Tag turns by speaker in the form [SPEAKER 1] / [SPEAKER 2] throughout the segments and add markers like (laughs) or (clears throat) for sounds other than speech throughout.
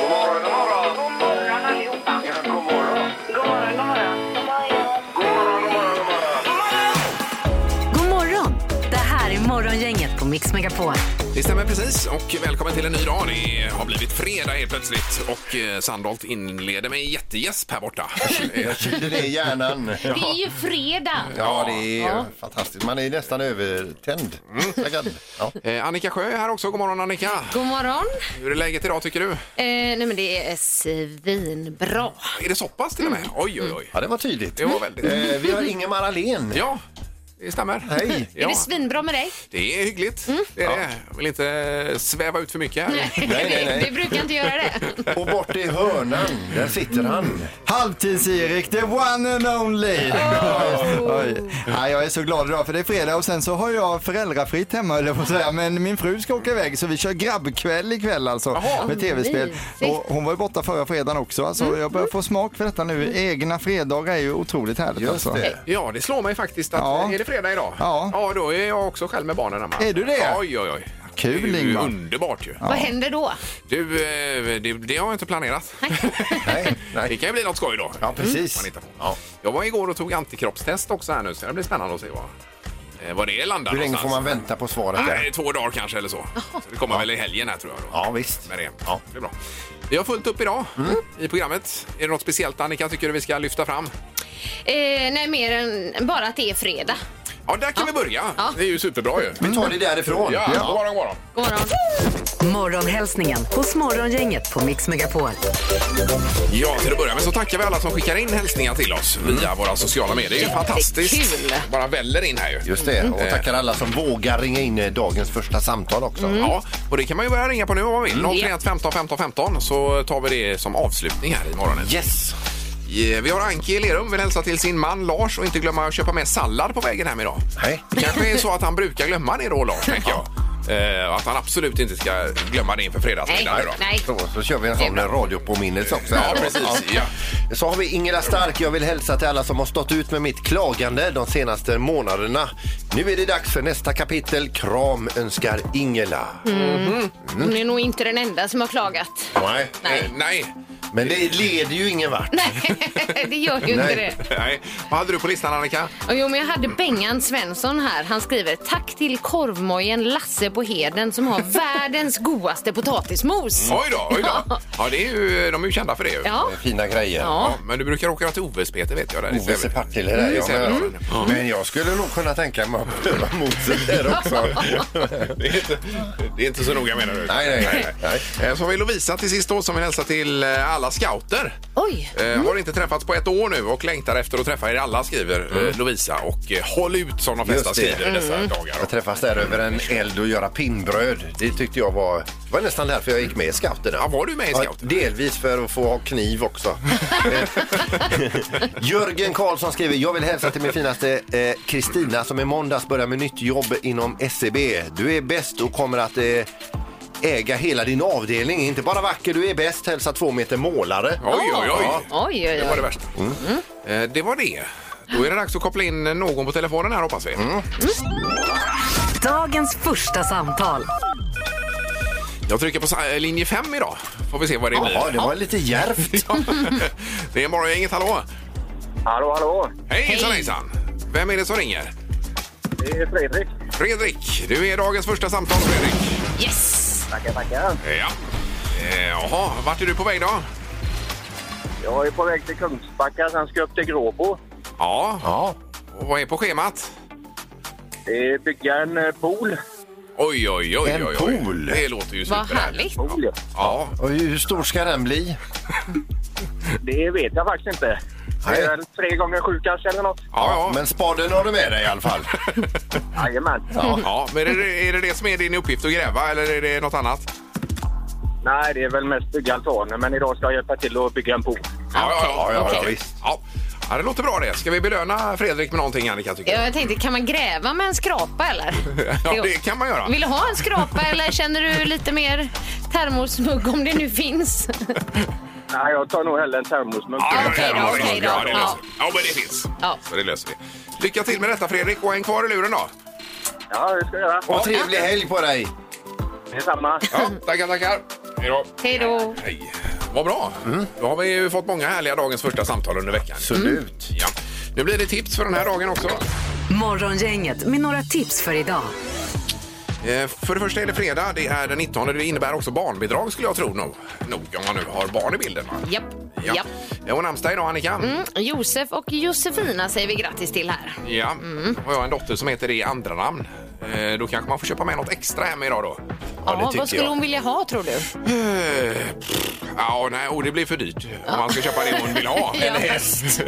[SPEAKER 1] God morgon, god morgon.
[SPEAKER 2] God morgon allihopa.
[SPEAKER 1] Ja, god morgon.
[SPEAKER 2] God morgon, god morgon.
[SPEAKER 1] God morgon, god morgon, god morgon.
[SPEAKER 3] God morgon! Det här är Morgongänget på Mix Megapol.
[SPEAKER 4] Det stämmer precis och välkommen till en ny dag. Det har blivit fredag helt plötsligt och eh, Sandholt inleder med en jättegäsp här
[SPEAKER 5] (laughs)
[SPEAKER 4] borta. Eh,
[SPEAKER 6] Kyler det i hjärnan.
[SPEAKER 7] Det är ju fredag.
[SPEAKER 6] Ja, det är fantastiskt. Man är nästan övertänd. Taggad. Ja.
[SPEAKER 4] eh, Annika Sjö är här också. God morgon Annika!
[SPEAKER 7] God morgon.
[SPEAKER 4] Hur är läget idag tycker du?
[SPEAKER 7] Eh, nej men det är svinbra.
[SPEAKER 4] Är det så pass till och
[SPEAKER 5] Mm.
[SPEAKER 4] med? Oj, oj, oj.
[SPEAKER 6] ja, det var tydligt.
[SPEAKER 4] Det var väldigt.
[SPEAKER 6] Eh, vi har Ingemar Ahlén.
[SPEAKER 4] Ja, det stämmer.
[SPEAKER 6] Hej.
[SPEAKER 7] Är
[SPEAKER 4] Ja,
[SPEAKER 7] det svinbra med dig?
[SPEAKER 4] det är hyggligt.
[SPEAKER 5] Mm.
[SPEAKER 4] Det är det. Jag vill inte sväva ut för mycket här.
[SPEAKER 6] nej, nej.
[SPEAKER 7] Vi, vi brukar inte göra
[SPEAKER 4] (laughs)
[SPEAKER 7] det.
[SPEAKER 6] Och bort i hörnan, där sitter han.
[SPEAKER 5] Halvtids-Erik, the one and only! (laughs) Oj. Ja, jag är så glad idag för det är fredag och sen så har jag föräldrafritt hemma höll jag på att säga. Men min fru ska åka iväg så vi kör grabbkväll ikväll alltså
[SPEAKER 4] Jaha.
[SPEAKER 5] med tv-spel. Och hon var ju borta förra fredagen också alltså jag börjar få smak för detta nu. Egna fredagar är ju otroligt härligt
[SPEAKER 6] Just
[SPEAKER 5] alltså.
[SPEAKER 6] det.
[SPEAKER 4] Ja, det slår mig faktiskt att
[SPEAKER 5] Ja.
[SPEAKER 4] är det fredag idag?
[SPEAKER 5] Ja.
[SPEAKER 4] Ja, då är jag också själv med barnen hemma.
[SPEAKER 5] Är du det?
[SPEAKER 4] Oj, oj, oj.
[SPEAKER 5] Kul,
[SPEAKER 4] det är ju
[SPEAKER 5] Ingmar.
[SPEAKER 4] underbart ju.
[SPEAKER 7] Vad händer då?
[SPEAKER 4] Du, eh, det, det har jag inte planerat. (laughs)
[SPEAKER 6] Nej,
[SPEAKER 4] Det
[SPEAKER 6] nej.
[SPEAKER 4] kan ju bli något skoj då. Mm.
[SPEAKER 6] Ja, precis.
[SPEAKER 4] Man hittar på.
[SPEAKER 6] Ja.
[SPEAKER 4] Jag var igår och tog antikroppstest också här nu så det blir spännande att se vad, eh, vad det landar
[SPEAKER 6] Hur länge får
[SPEAKER 4] någonstans.
[SPEAKER 6] man vänta på svaret?
[SPEAKER 4] Nej,
[SPEAKER 6] Där?
[SPEAKER 4] två dagar kanske eller så. så det kommer väl i helgen här tror jag. Då.
[SPEAKER 6] Ja, visst.
[SPEAKER 4] Med det.
[SPEAKER 6] Ja. Mm.
[SPEAKER 4] det är bra. Vi har fullt upp idag i programmet. Är det något speciellt Annika tycker du vi ska lyfta fram?
[SPEAKER 7] Eh, nej mer än bara att det är fredag.
[SPEAKER 4] Ja, där kan vi börja. Det är ju superbra ju.
[SPEAKER 6] Vi tar det därifrån.
[SPEAKER 4] Ja, god morgon, god morgon.
[SPEAKER 7] God morgon.
[SPEAKER 3] Morgonhälsningen hos Morgongänget på Mix Megapol.
[SPEAKER 4] Ja, till att börja med så tackar vi alla som skickar in hälsningar till oss via våra sociala medier. Det är ju fantastiskt.
[SPEAKER 7] Jättekul.
[SPEAKER 4] Bara väller in här ju.
[SPEAKER 6] Just det. Och tackar alla som vågar ringa in eh, dagens första samtal också.
[SPEAKER 4] Ja, och det kan man ju börja ringa på nu om man vill. 031 15 15 15 så tar vi det som avslutning här i morgonen.
[SPEAKER 6] Yes!
[SPEAKER 4] Eh, Vi har Anki i Lerum, vill hälsa till sin man Lars och inte glömma att köpa med sallad på vägen hem idag.
[SPEAKER 6] Nej.
[SPEAKER 4] Det kanske är så att han brukar glömma det då Lars, tänker jag. Eh, och att han absolut inte ska glömma det inför fredagsmiddagen nu
[SPEAKER 7] Nej,
[SPEAKER 4] då.
[SPEAKER 7] nej.
[SPEAKER 6] Så, så kör vi en sån radiopåminnelse också. här
[SPEAKER 4] Ja,
[SPEAKER 6] då.
[SPEAKER 4] precis. Ja.
[SPEAKER 6] Så har vi Ingela Stark. Jag vill hälsa till alla som har stått ut med mitt klagande de senaste månaderna. Nu är det dags för nästa kapitel. Kram önskar Ingela.
[SPEAKER 4] Mm.
[SPEAKER 7] Hon är nog inte den enda som har klagat. (laughs)
[SPEAKER 6] Nej.
[SPEAKER 4] Eh,
[SPEAKER 7] Nej,
[SPEAKER 4] nej. (laughs)
[SPEAKER 6] Men det leder ju ingen vart.
[SPEAKER 7] nej det gör ju inte
[SPEAKER 6] Nej.
[SPEAKER 7] det.
[SPEAKER 4] nej. Vad hade du på listan Annika?
[SPEAKER 7] Och Jo, men jag hade Bengan Svensson här. Han skriver tack till korvmojen Lasse på Heden som
[SPEAKER 4] (laughs)
[SPEAKER 7] har världens godaste potatismos.
[SPEAKER 4] Oj då, oj
[SPEAKER 7] (laughs)
[SPEAKER 4] då. Ja, det är ju, de är ju kända för det ju.
[SPEAKER 7] Ja.
[SPEAKER 6] Fina grejer.
[SPEAKER 7] Ja.
[SPEAKER 4] Ja, men du brukar åka till Oves Peter vet jag. Där i
[SPEAKER 6] Oves i
[SPEAKER 4] Säve.
[SPEAKER 6] Partille där.
[SPEAKER 4] I
[SPEAKER 6] ja,
[SPEAKER 4] Säve,
[SPEAKER 6] men,
[SPEAKER 4] ja.
[SPEAKER 6] men jag skulle nog kunna tänka mig att pröva moset där också.
[SPEAKER 4] Det är, inte, det är inte så noga menar du?
[SPEAKER 6] Nej, nej, nej.
[SPEAKER 4] Eh, Så har vi Lovisa till sist då som vill hälsa till eh, alla scouter.
[SPEAKER 7] Oj.
[SPEAKER 4] Eh, Har inte träffats på ett år nu och längtar efter att träffa er alla skriver eh, Lovisa. Och eh, håll ut som de flesta
[SPEAKER 6] Just det.
[SPEAKER 4] skriver i dessa dagar.
[SPEAKER 6] Att träffas där över en eld och göra pinnbröd. Det tyckte jag var... Det var nästan därför jag gick med i scouterna.
[SPEAKER 4] Ja, var du med i scouterna?
[SPEAKER 6] Ja, delvis för att få ha kniv
[SPEAKER 4] (laughs)
[SPEAKER 6] också. Jörgen Karlsson skriver, jag vill hälsa till min finaste eh, Kristina som i måndags börjar med nytt jobb inom SCB. Du är bäst och kommer att eh, äga hela din avdelning. Inte bara vacker, du är bäst. Hälsa två meter målare.
[SPEAKER 4] Oj, oj, oj.
[SPEAKER 6] Ja.
[SPEAKER 7] Oj, oj,
[SPEAKER 4] Det var det
[SPEAKER 7] oj.
[SPEAKER 4] värsta. Eh, Det var det. Då är det dags att koppla in någon på telefonen här hoppas vi.
[SPEAKER 3] Dagens första samtal.
[SPEAKER 4] Jag trycker på sa- eh, linje 5 idag. Får vi se vad det
[SPEAKER 6] Ja,
[SPEAKER 4] blir.
[SPEAKER 6] det var lite djärvt.
[SPEAKER 4] Det är Morgongänget, hallå!
[SPEAKER 1] Hallå, hallå.
[SPEAKER 4] Hej hejsan hejsan! Vem är det som ringer?
[SPEAKER 1] Det är Fredrik.
[SPEAKER 4] Fredrik, du är dagens första samtal Fredrik.
[SPEAKER 7] Yes!
[SPEAKER 1] Tackar, tackar.
[SPEAKER 4] Ja. Eh, Jaha, vart är du på väg då?
[SPEAKER 1] Jag är på väg till Kungsbacka, sen ska jag upp till Gråbo.
[SPEAKER 4] (laughs) Ja,
[SPEAKER 6] Ja.
[SPEAKER 4] och vad är på schemat?
[SPEAKER 1] Det är bygga en eh, pool.
[SPEAKER 4] Oj, oj, oj.
[SPEAKER 6] En
[SPEAKER 4] oj, oj.
[SPEAKER 6] pool.
[SPEAKER 4] Det låter ju
[SPEAKER 7] Vad
[SPEAKER 4] superhärligt.
[SPEAKER 7] härligt.
[SPEAKER 1] pool. ja.
[SPEAKER 4] Ja,
[SPEAKER 6] Och hur stor ska den bli?
[SPEAKER 1] Det vet jag faktiskt inte.
[SPEAKER 6] Nej.
[SPEAKER 1] Det är väl tre gånger sju kanske eller något.
[SPEAKER 4] ja, ja.
[SPEAKER 6] Men spaden har du med dig i
[SPEAKER 4] (laughs)
[SPEAKER 6] alla fall.
[SPEAKER 1] Jajamän.
[SPEAKER 4] ja men är det, är det det som är din uppgift att gräva eller är det något annat?
[SPEAKER 1] Nej, det är väl mest bygga altaner, men idag ska jag hjälpa till att bygga en pool.
[SPEAKER 4] Ja, ja, ja.
[SPEAKER 6] Ja, ja, ja,
[SPEAKER 4] okej.
[SPEAKER 6] visst.
[SPEAKER 4] Ja. ja, det låter bra det. Ska vi belöna Fredrik med någonting Annika tycker
[SPEAKER 7] Ja, Jag tänkte, kan man gräva med en skrapa eller?
[SPEAKER 4] du? (laughs) Ja, det kan man göra.
[SPEAKER 7] Vill du ha en skrapa eller känner du lite mer termosmugg om det nu finns?
[SPEAKER 1] Nej, jag tar nog hellre en termosmugg.
[SPEAKER 4] Ja, ja,
[SPEAKER 7] Okej då,
[SPEAKER 4] ja,
[SPEAKER 7] okej då.
[SPEAKER 4] Ja, det löser
[SPEAKER 7] Ja.
[SPEAKER 4] vi. ja, men det finns.
[SPEAKER 7] Ja.
[SPEAKER 4] Så det löser vi. Lycka till med detta Fredrik och häng kvar i luren då.
[SPEAKER 1] Ja, det ska jag göra.
[SPEAKER 6] Och trevlig helg på dig!
[SPEAKER 1] Detsamma.
[SPEAKER 4] Ja, tackar, tackar. Hej då.
[SPEAKER 7] Hej då!
[SPEAKER 4] Hej. Vad bra. Då har vi ju fått många härliga dagens första samtal under veckan.
[SPEAKER 6] Absolut.
[SPEAKER 4] Ja. Nu blir det tips för den här dagen också.
[SPEAKER 3] Morgongänget med några tips för idag.
[SPEAKER 4] Eh, För det första är det fredag, det är den 19. Det innebär också barnbidrag skulle jag tro nog. Nog om man nu har barn i bilden. Va?
[SPEAKER 7] Japp,
[SPEAKER 4] Ja.
[SPEAKER 7] japp.
[SPEAKER 4] Eh, Och namnsdag idag Annika.
[SPEAKER 7] Mm. Josef och Josefina säger vi grattis till här.
[SPEAKER 4] Ja. Och jag har en dotter som heter det i andra namn. Eh, Då kanske man får köpa med något extra hem idag då.
[SPEAKER 6] Ja, det
[SPEAKER 7] Ja,
[SPEAKER 6] tycker
[SPEAKER 7] vad skulle
[SPEAKER 6] jag.
[SPEAKER 7] hon vilja ha tror du?
[SPEAKER 4] Eh, pff, Ja, nej, oh, det blir för dyrt om man ska köpa det hon vill ha.
[SPEAKER 7] (laughs) Ja.
[SPEAKER 4] Eller häst.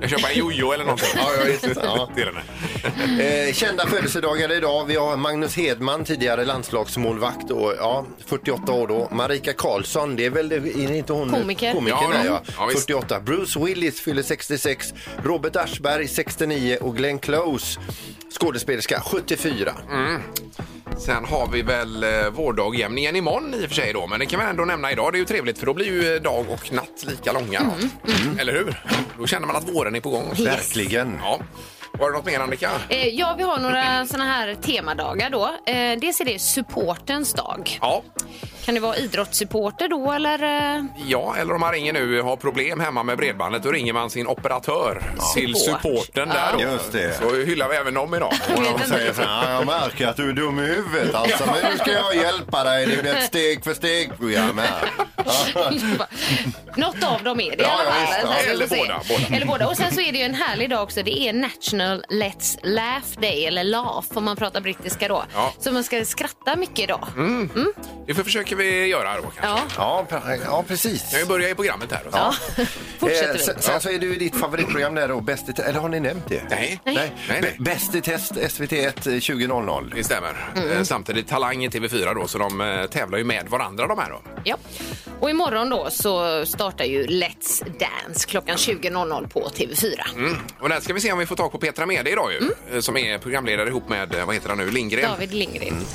[SPEAKER 4] Jag köper en jojo eller någonting.
[SPEAKER 6] Ja, ja, just det. Ja.
[SPEAKER 4] Det är den här. Mm.
[SPEAKER 6] Eh, kända födelsedagar idag. Vi har Magnus Hedman, tidigare landslagsmålvakt, och, ja, 48 år då. Marika Karlsson, det är väl är det inte hon?
[SPEAKER 7] Komiker.
[SPEAKER 6] Komikern,
[SPEAKER 4] Ja, mm.
[SPEAKER 6] ja, ja.
[SPEAKER 4] ja, visst.
[SPEAKER 6] 48. Bruce Willis fyller 66. Robert Aschberg 69 och Glenn Close, skådespelerska, 74.
[SPEAKER 4] Mm. Sen har vi väl eh, vårddagjämningen imorgon i och för sig då, men det kan man ändå nämna idag. Det är ju trevligt för då blir ju eh, dag och natt lika långa.
[SPEAKER 7] Mm,
[SPEAKER 4] då. Mm. Eller hur? Då känner man att våren är på gång.
[SPEAKER 6] Verkligen.
[SPEAKER 4] Ja. Var det något mer Annika?
[SPEAKER 7] Eh, ja, vi har några såna här temadagar då. Eh, dels är det supportens dag.
[SPEAKER 4] Ja.
[SPEAKER 7] Kan det vara idrottssupporter då eller? Eh,
[SPEAKER 4] ja, eller om man ringer nu och har problem hemma med bredbandet, då ringer man sin operatör till
[SPEAKER 7] Support.
[SPEAKER 4] supporten där
[SPEAKER 7] Ja.
[SPEAKER 4] då.
[SPEAKER 6] Just det.
[SPEAKER 4] Så hyllar vi även dem idag.
[SPEAKER 7] (laughs)
[SPEAKER 6] Och de säger så här, jag märker att du är dum i huvudet alltså, men nu ska jag hjälpa dig. Det är ett steg för steg-program här.
[SPEAKER 7] (laughs) Något av dem är det i
[SPEAKER 6] Ja,
[SPEAKER 7] alla
[SPEAKER 6] ja, visst, ja.
[SPEAKER 7] fall. Så vi får
[SPEAKER 4] Eller
[SPEAKER 7] se.
[SPEAKER 4] båda, båda.
[SPEAKER 7] Eller båda. Och sen så är det ju en härlig dag också. Det är National Let's Laugh Day, eller laugh om man pratar brittiska då.
[SPEAKER 4] Ja.
[SPEAKER 7] Så man ska skratta mycket idag.
[SPEAKER 4] Det försöker vi göra då kanske.
[SPEAKER 7] Ja.
[SPEAKER 6] Ja, pre- ja precis.
[SPEAKER 4] Jag börjar i programmet här. Då.
[SPEAKER 7] Ja. Fortsätter
[SPEAKER 6] Eh,
[SPEAKER 7] vi.
[SPEAKER 6] sen, sen så är det ju ditt favoritprogram där då, Bäst i test, eller har ni nämnt det?
[SPEAKER 4] Nej.
[SPEAKER 6] Nej.
[SPEAKER 4] Nej, nej.
[SPEAKER 6] B- Bäst i test, SVT1 eh, 2000.
[SPEAKER 4] Det stämmer.
[SPEAKER 7] Mm.
[SPEAKER 4] Eh, Samtidigt Talang i TV4 då, så de eh, tävlar ju med varandra de här då.
[SPEAKER 7] Ja. Och imorgon då så startar ju Let's Dance klockan 20.00 på TV4.
[SPEAKER 4] Mm. Och där ska vi se om vi får tag på Petra Mede idag ju, eh, som är programledare ihop med, eh, vad heter han nu, Lindgren.
[SPEAKER 7] Mm. David Lindgren.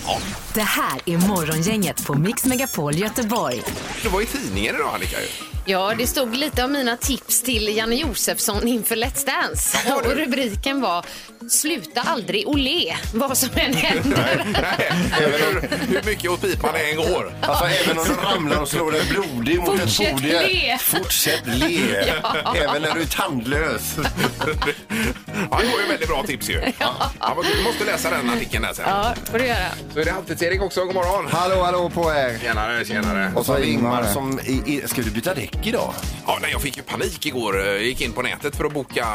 [SPEAKER 3] Det här är Morgongänget på Mix Megapol Göteborg.
[SPEAKER 4] Du var i tidningen idag Annika ju. (laughs)
[SPEAKER 7] Ja, det stod lite om mina tips till Janne Josefsson inför Let's Dance. Och rubriken var Sluta aldrig olé, vad som
[SPEAKER 4] (laughs)
[SPEAKER 7] än händer.
[SPEAKER 4] Nej, hur, hur mycket åt pipan det än går.
[SPEAKER 6] Alltså även om du ramlar och slår dig blodig mot ett
[SPEAKER 7] Fortsätt
[SPEAKER 6] podium.
[SPEAKER 7] le.
[SPEAKER 6] Fortsätt le! Även när du är
[SPEAKER 7] (laughs)
[SPEAKER 6] tandlös.
[SPEAKER 4] Ja, det var ju väldigt bra tips ju. Ja. men du måste läsa den artikeln där sen.
[SPEAKER 7] Ja, det får du göra.
[SPEAKER 4] Så är det Halvtids-Erik också, god morgon.
[SPEAKER 5] Hallå, hallå på er!
[SPEAKER 4] Tjenare, tjenare.
[SPEAKER 6] Och så har vi Ingmar
[SPEAKER 5] Ingmar.
[SPEAKER 6] som... i- i- Ska du byta däck idag?
[SPEAKER 4] Ja, nej, jag fick ju panik igår. Jag gick in på nätet för att boka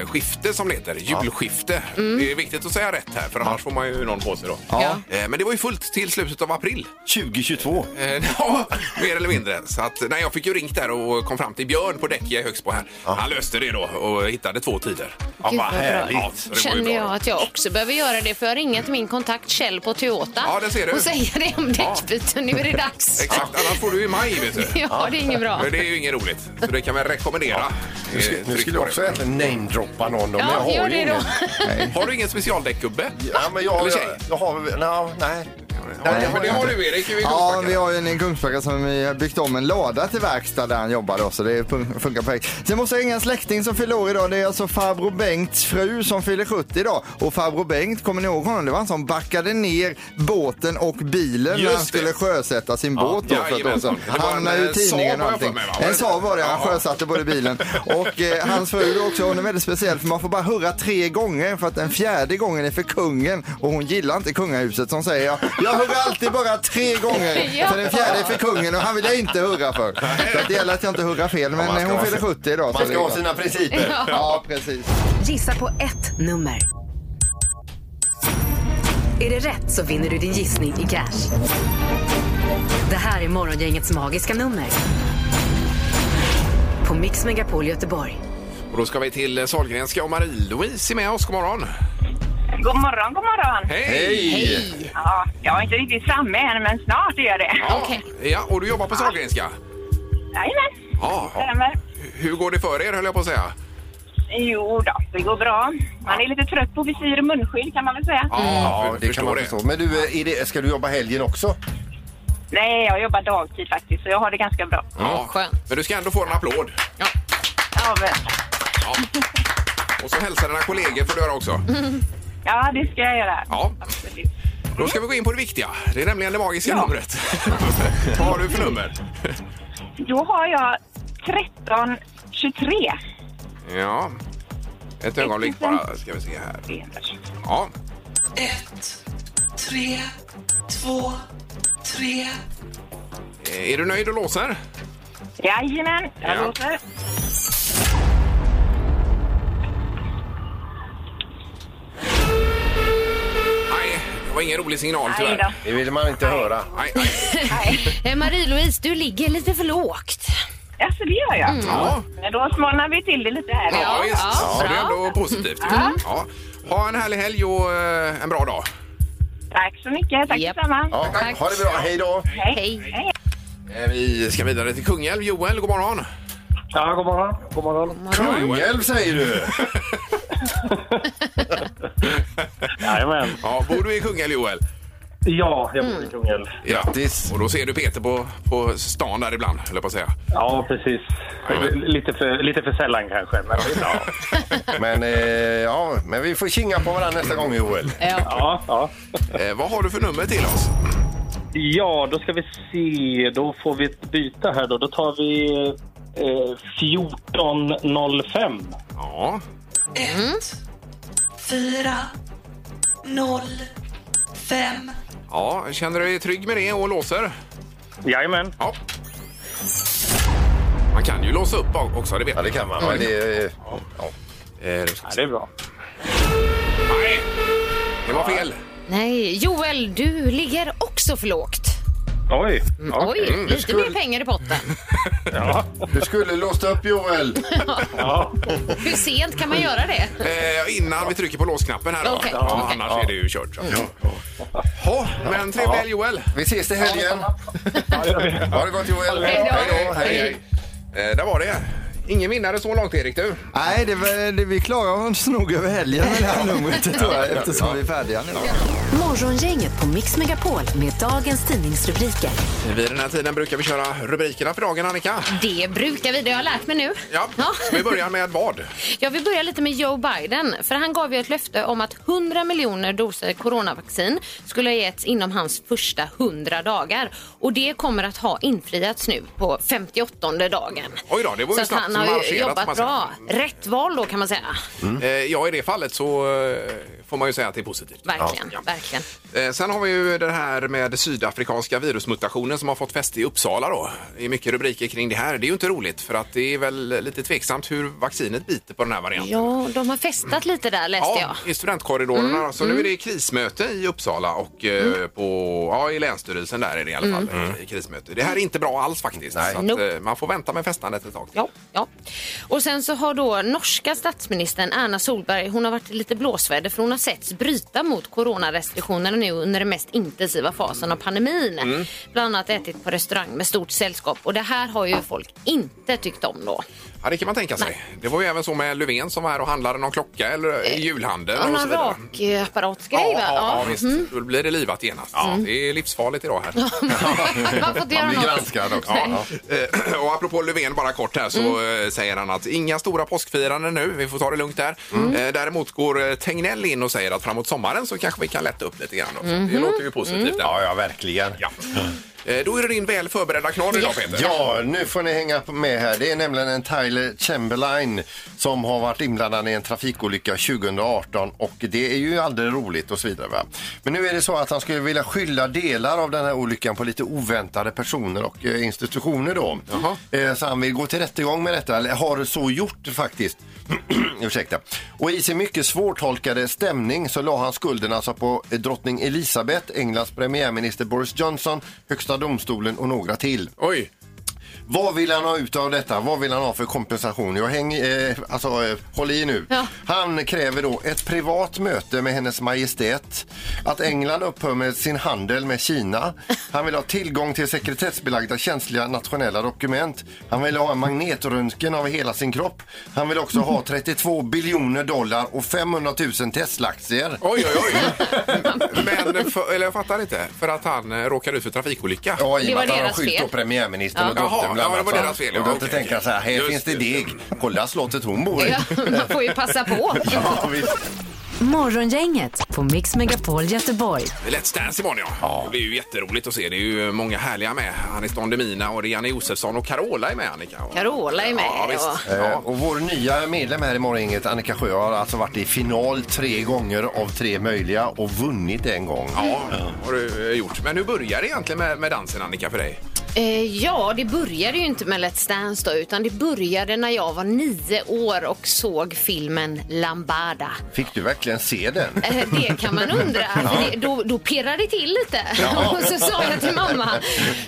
[SPEAKER 4] eh, skifte som det heter, julskifte.
[SPEAKER 6] Mm.
[SPEAKER 4] Det är viktigt att säga rätt här för annars får man ju någon på sig då.
[SPEAKER 7] Ja.
[SPEAKER 4] Eh, Men det var ju fullt till slutet av april.
[SPEAKER 6] 2022.
[SPEAKER 4] Eh, (laughs) Ja, mer eller mindre. Så att, nej, jag fick ju ringt där och kom fram till Björn på däck jag är högst på här. Han löste det då och hittade två tider. Ja,
[SPEAKER 7] Gud, vad bra.
[SPEAKER 4] så det var ju
[SPEAKER 7] Känner
[SPEAKER 4] bra då.
[SPEAKER 7] jag att jag också behöver göra det för jag har ringat min kontakt Kjell på Toyota
[SPEAKER 4] Ja, det ser du.
[SPEAKER 7] och säger det om däckbyten. Nu är det dags.
[SPEAKER 4] (laughs) Exakt, annars får du i maj vet
[SPEAKER 6] (laughs)
[SPEAKER 4] du.
[SPEAKER 7] Ja, det är inget bra.
[SPEAKER 4] Men det är ju inget roligt. Så det kan man rekommendera. Eh,
[SPEAKER 6] Nu
[SPEAKER 4] tryck
[SPEAKER 6] skulle
[SPEAKER 4] på
[SPEAKER 6] jag också egentligen namedroppa någon. men jag
[SPEAKER 7] Ja,
[SPEAKER 6] har
[SPEAKER 7] gör
[SPEAKER 6] ju
[SPEAKER 7] det
[SPEAKER 6] ingen.
[SPEAKER 7] då.
[SPEAKER 4] det. Har du ingen specialdäckgubbe?
[SPEAKER 6] Ja, men jag har...
[SPEAKER 4] Eller
[SPEAKER 6] Jag,
[SPEAKER 4] tjej?
[SPEAKER 6] jag har no, nej.
[SPEAKER 4] Nej,
[SPEAKER 6] jag
[SPEAKER 4] men det
[SPEAKER 6] inte.
[SPEAKER 4] har du Erik. i
[SPEAKER 5] Ja,
[SPEAKER 4] Kungsbacka.
[SPEAKER 5] vi har ju en i Kungsbacka som vi har byggt om en lada till verkstad där han jobbar då, så det fun- funkar perfekt. Sen måste jag ringa en släkting som fyller år idag. Det är alltså farbror Bengts fru som fyller 70 idag. Och farbror Bengt, kommer ni ihåg honom? Det var han som backade ner båten och bilen när
[SPEAKER 4] Just
[SPEAKER 5] han skulle
[SPEAKER 4] det.
[SPEAKER 5] sjösätta sin båt då för ett år sedan.
[SPEAKER 4] jajamensan. Det var en,
[SPEAKER 5] Han är ju
[SPEAKER 4] eh,
[SPEAKER 5] i tidningen
[SPEAKER 4] Saab har
[SPEAKER 5] och
[SPEAKER 4] jag för
[SPEAKER 5] allting.
[SPEAKER 4] mig, va? Var det
[SPEAKER 5] En
[SPEAKER 4] inte?
[SPEAKER 5] Saab var det, han
[SPEAKER 4] Ja.
[SPEAKER 5] sjösatte både bilen och eh, hans fru då också. Hon är väldigt speciell för man får bara hurra tre gånger för att den fjärde gången är för kungen och hon gillar inte kungahuset som säger jag, jag hurrar alltid bara tre gånger
[SPEAKER 7] Ja.
[SPEAKER 5] för den fjärde är för kungen och han vill jag inte hurra för. Så att det gäller att jag inte hurrar fel men
[SPEAKER 6] man ska
[SPEAKER 5] hon
[SPEAKER 6] ha
[SPEAKER 5] fyller
[SPEAKER 6] sin-
[SPEAKER 5] 70 idag. så
[SPEAKER 6] Man
[SPEAKER 5] det
[SPEAKER 6] ska
[SPEAKER 5] är
[SPEAKER 6] ha
[SPEAKER 5] bra.
[SPEAKER 6] sina principer.
[SPEAKER 5] Ja precis.
[SPEAKER 3] Gissa på ett nummer. Är det rätt så vinner du din gissning i cash. Det här är Morgongängets magiska nummer. På Mix Megapol Göteborg.
[SPEAKER 4] Och då ska vi till eh, Sahlgrenska och Marie-Louise är med oss. God morgon.
[SPEAKER 2] God morgon, god morgon.
[SPEAKER 4] Hej!
[SPEAKER 7] Hej!
[SPEAKER 2] Ja, jag är inte riktigt framme än, men snart är jag det.
[SPEAKER 4] Ja,
[SPEAKER 7] Okej.
[SPEAKER 4] ja, och du jobbar på Sahlgrenska?
[SPEAKER 2] Jajamän,
[SPEAKER 4] Ja.
[SPEAKER 2] stämmer.
[SPEAKER 4] Hur går det för er höll jag på att säga?
[SPEAKER 2] Jo då, det går bra. Man är lite trött på visir och munskydd kan man väl säga.
[SPEAKER 4] Ja,
[SPEAKER 6] Ja, det kan man förstå. Men du, eh, är det, ska du jobba helgen också?
[SPEAKER 2] Nej, jag jobbar dagtid faktiskt, så jag har det ganska bra.
[SPEAKER 4] Ja,
[SPEAKER 7] Skönt.
[SPEAKER 4] Men du ska ändå få en applåd.
[SPEAKER 2] Ja, men,
[SPEAKER 4] Ja.
[SPEAKER 7] Mm.
[SPEAKER 4] Och så hälsa dina kollegor får du göra också.
[SPEAKER 2] ja det ska jag göra.
[SPEAKER 4] Ja.
[SPEAKER 2] Absolut.
[SPEAKER 4] Då ska vi gå in på det viktiga. Det är nämligen det magiska numret. (laughs) Vad har du för nummer?
[SPEAKER 2] Då har jag 1323.
[SPEAKER 4] Ja. Ett ögonblick bara, ska vi se här. Ja. Ett, tre, två, tre. Eh, Är du nöjd och låser?
[SPEAKER 2] Jajamän, jag
[SPEAKER 4] Ja.
[SPEAKER 2] låter.
[SPEAKER 4] Nej, det var ingen rolig signal
[SPEAKER 2] Nej då.
[SPEAKER 4] tyvärr.
[SPEAKER 6] Det vill man inte höra.
[SPEAKER 4] Nej, nej.
[SPEAKER 7] Eh, Marie-Louise, du ligger lite för lågt.
[SPEAKER 2] Alltså det gör jag.
[SPEAKER 4] Ja.
[SPEAKER 2] Men då smalnar vi till det lite här.
[SPEAKER 4] Mm. Ja, visst.
[SPEAKER 7] ja,
[SPEAKER 4] Så det är
[SPEAKER 7] bra.
[SPEAKER 4] ändå positivt. ju. Ja. Ha en härlig helg och eh, en bra dag.
[SPEAKER 2] Tack så mycket. Tack
[SPEAKER 7] Japp.
[SPEAKER 2] detsamma.
[SPEAKER 6] Ja,
[SPEAKER 7] Tack.
[SPEAKER 6] Ha det bra, hej då!
[SPEAKER 7] Hej.
[SPEAKER 4] Eh, Vi ska vidare till Kungälv. Joel, god morgon.
[SPEAKER 1] Ja, god morgon. God morgon.
[SPEAKER 6] Kungälv säger du!
[SPEAKER 1] Jajamän.
[SPEAKER 4] Ja, bor du i Kungälv, Joel?
[SPEAKER 1] Ja, jag bor i Kungälv.
[SPEAKER 6] Grattis!
[SPEAKER 4] Och då ser du Peter på, på stan där ibland, höll jag på att säga.
[SPEAKER 1] Ja, precis.
[SPEAKER 4] Jajamän.
[SPEAKER 1] Lite för, lite för sällan kanske, men ja.
[SPEAKER 6] Men, eh, ja, men vi får kinga på varandra nästa gång Joel.
[SPEAKER 7] Ja.
[SPEAKER 1] Ja, ja.
[SPEAKER 4] Eh, vad har du för nummer till oss?
[SPEAKER 1] ja, då ska vi se. Då får vi ett byte här då. Då tar vi eh, 1405.
[SPEAKER 4] Ja. Ja, känner du dig trygg med det och låser?
[SPEAKER 1] Jajamän.
[SPEAKER 4] Ja. Man kan ju låsa upp också, det vet
[SPEAKER 6] Ja, det kan man. Men det, eh, ja.
[SPEAKER 4] Eh, då ska vi
[SPEAKER 1] Ja,
[SPEAKER 4] se.
[SPEAKER 1] det är bra.
[SPEAKER 4] Nej, det var fel.
[SPEAKER 7] Nej, Joel, du ligger också för lågt.
[SPEAKER 1] Oj!
[SPEAKER 8] Mm.
[SPEAKER 1] Ja,
[SPEAKER 4] mm,
[SPEAKER 7] Oj, lite
[SPEAKER 6] skulle-
[SPEAKER 7] mer pengar i potten.
[SPEAKER 6] Du skulle låst upp Joel!
[SPEAKER 1] ja.
[SPEAKER 7] Hur sent kan man göra det?
[SPEAKER 4] Eh, innan vi trycker på låsknappen här då.
[SPEAKER 7] Okej,
[SPEAKER 4] Ja,
[SPEAKER 7] okej.
[SPEAKER 4] Annars är det ju kört. så. Ja, men trevlig helg Joel.
[SPEAKER 6] Vi ses till helgen! Ha det gott Joel!
[SPEAKER 7] Hej då.
[SPEAKER 4] Hej, hej. Eh, där var det. Ingen vinnare så långt Erik du.
[SPEAKER 5] Nej, det, var- det, vi klarar oss nog över helgen med det här numret tror jag, eftersom vi är färdiga nu.
[SPEAKER 3] Morgongänget på Mix Megapol med dagens tidningsrubriker.
[SPEAKER 4] Vid den här tiden brukar vi köra rubrikerna för dagen Annika.
[SPEAKER 7] Det brukar vi, det har jag lärt mig nu.
[SPEAKER 4] Ja, ska vi börjar med vad?
[SPEAKER 7] Jag vill börja lite med Joe Biden, för han gav ju ett löfte om att 100 miljoner doser coronavaccin skulle ha getts inom hans första 100 dagar. Och det kommer att ha infriats nu på 58 dagen.
[SPEAKER 4] Oj då, det var ju
[SPEAKER 7] Så att
[SPEAKER 4] snabbt
[SPEAKER 7] han har ju
[SPEAKER 4] marscherat, får man
[SPEAKER 7] jobbat
[SPEAKER 4] säga.
[SPEAKER 7] bra. Rätt val då kan man säga.
[SPEAKER 4] Eh, ja, i det fallet så eh, får man ju säga att det är positivt.
[SPEAKER 7] Verkligen,
[SPEAKER 4] Ja.
[SPEAKER 7] verkligen.
[SPEAKER 4] Eh, Sen har vi ju det här med sydafrikanska virusmutationen som har fått fäste i Uppsala då. Det är mycket rubriker kring det här. Det är ju inte roligt för att det är väl lite tveksamt hur vaccinet biter på den här varianten.
[SPEAKER 7] Ja, de har festat lite där läste jag. Mm,
[SPEAKER 4] Ja, i studentkorridorerna. så nu är det krismöte i Uppsala och eh, på, ja, i Länsstyrelsen där är det i alla fall. eh, Krismöte. Det här är inte bra alls faktiskt. Så att,
[SPEAKER 7] Mm. Nope.
[SPEAKER 4] eh, man får vänta med festandet ett tag.
[SPEAKER 7] Ja, ja. Och sen så har då norska statsministern Erna Solberg, hon har varit i lite blåsväder för hon har setts bryta mot coronarestriktionerna nu under den mest intensiva fasen av pandemin.
[SPEAKER 4] Mm.
[SPEAKER 7] Bland annat ätit på restaurang med stort sällskap och det här har ju folk inte tyckt om då.
[SPEAKER 4] Ja, det kan man tänka sig. Det var ju även så med Löfven som var här och handlade någon klocka eller eh, julhandel
[SPEAKER 7] Ja,
[SPEAKER 4] och så
[SPEAKER 7] någon
[SPEAKER 4] vidare.
[SPEAKER 7] rakapparatsgrej
[SPEAKER 4] Ja,
[SPEAKER 7] va?
[SPEAKER 4] ja, ja, visst.
[SPEAKER 6] Mm.
[SPEAKER 4] Då blir det livat genast. Det är livsfarligt idag här.
[SPEAKER 7] Man får
[SPEAKER 6] Han
[SPEAKER 7] inte göra
[SPEAKER 6] blir
[SPEAKER 7] något.
[SPEAKER 6] granskad också.
[SPEAKER 4] Ja. Eh, (clears throat) Och apropå Löfven bara kort här så
[SPEAKER 6] Mm.
[SPEAKER 4] eh, säger han att inga stora påskfiranden nu, vi får ta det lugnt där.
[SPEAKER 6] Mm.
[SPEAKER 4] Eh, Däremot går eh, Tegnell in och säger att framåt sommaren så kanske vi kan lätta upp lite grann. Då. Så Det låter ju positivt. där.
[SPEAKER 6] Mhm. Mm. Ja, ja, verkligen.
[SPEAKER 4] Ja. Eh, Då är det din väl förberedda knorr idag Peter.
[SPEAKER 6] Ja, nu får ni hänga med här. Det är nämligen en Tyler Chamberlain som har varit inblandad i en trafikolycka 2018 och det är ju aldrig roligt och så vidare. Va? Men nu är det så att han skulle vilja skylla delar av den här olyckan på lite oväntade personer och eh, institutioner då. Eh, Så han vill gå till rättegång med detta, eller har så gjort faktiskt. (clears throat) Ursäkta. Och i sin mycket svårtolkade stämning så la han skulden alltså på eh, drottning Elisabeth, Englands premiärminister Boris Johnson, Högsta domstolen och några till.
[SPEAKER 4] Oj,
[SPEAKER 6] Vad vill han ha ut av detta? Vad vill han ha för kompensation? Jag häng, eh, alltså, eh, håll i nu.
[SPEAKER 7] Ja.
[SPEAKER 6] Han kräver då ett privat möte med hennes majestät, att England upphör med sin handel med Kina. Han vill ha tillgång till sekretessbelagda känsliga nationella dokument. Han vill ha en magnetröntgen av hela sin kropp. Han vill också ha 32 biljoner dollar och 500 000 Tesla-aktier.
[SPEAKER 4] oj, oj.
[SPEAKER 6] (laughs)
[SPEAKER 4] oj. Men, för, eller jag fattar inte, för att han eh, råkade ut för trafikolycka.
[SPEAKER 6] Ja, i
[SPEAKER 7] Det
[SPEAKER 6] och med
[SPEAKER 7] var
[SPEAKER 6] att han har
[SPEAKER 7] deras
[SPEAKER 6] skyllt
[SPEAKER 7] fel.
[SPEAKER 6] på premiärministern och
[SPEAKER 4] Ja.
[SPEAKER 6] dottern
[SPEAKER 4] Jaha,
[SPEAKER 6] bland
[SPEAKER 4] ja, det var
[SPEAKER 6] annat.
[SPEAKER 4] deras fel,
[SPEAKER 6] Och då
[SPEAKER 4] ja, okej,
[SPEAKER 6] tänker han så här, här
[SPEAKER 4] Just
[SPEAKER 6] finns det
[SPEAKER 4] det.
[SPEAKER 6] deg. Kolla slottet hon bor i.
[SPEAKER 7] Ja, man får ju passa på.
[SPEAKER 6] (laughs) Ja, visst.
[SPEAKER 3] Morgongänget på Mix Megapol Göteborg.
[SPEAKER 4] Let's Dance imorgon ja. Det blir ju jätteroligt att se. Det är ju många härliga med. Anis Don Demina och det är Janne Josefsson och Carola är med Annika.
[SPEAKER 7] Carola är med,
[SPEAKER 4] Ja, visst.
[SPEAKER 6] Eh,
[SPEAKER 4] Ja.
[SPEAKER 6] Och vår nya medlem här i Morgongänget, Annika Sjö, har alltså varit i final tre gånger av tre möjliga och vunnit en gång.
[SPEAKER 4] Ja, har du eh, gjort. Men hur börjar det egentligen med, med dansen Annika för dig?
[SPEAKER 7] Eh, ja, det började ju inte med Let's Dance då, utan det började när jag var nio år och såg filmen Lambada.
[SPEAKER 6] Fick du verkligen se den?
[SPEAKER 7] Eh, Det kan man
[SPEAKER 4] (laughs)
[SPEAKER 7] undra. För det, då, då pirrade det till lite. (laughs) Och så sa jag till mamma,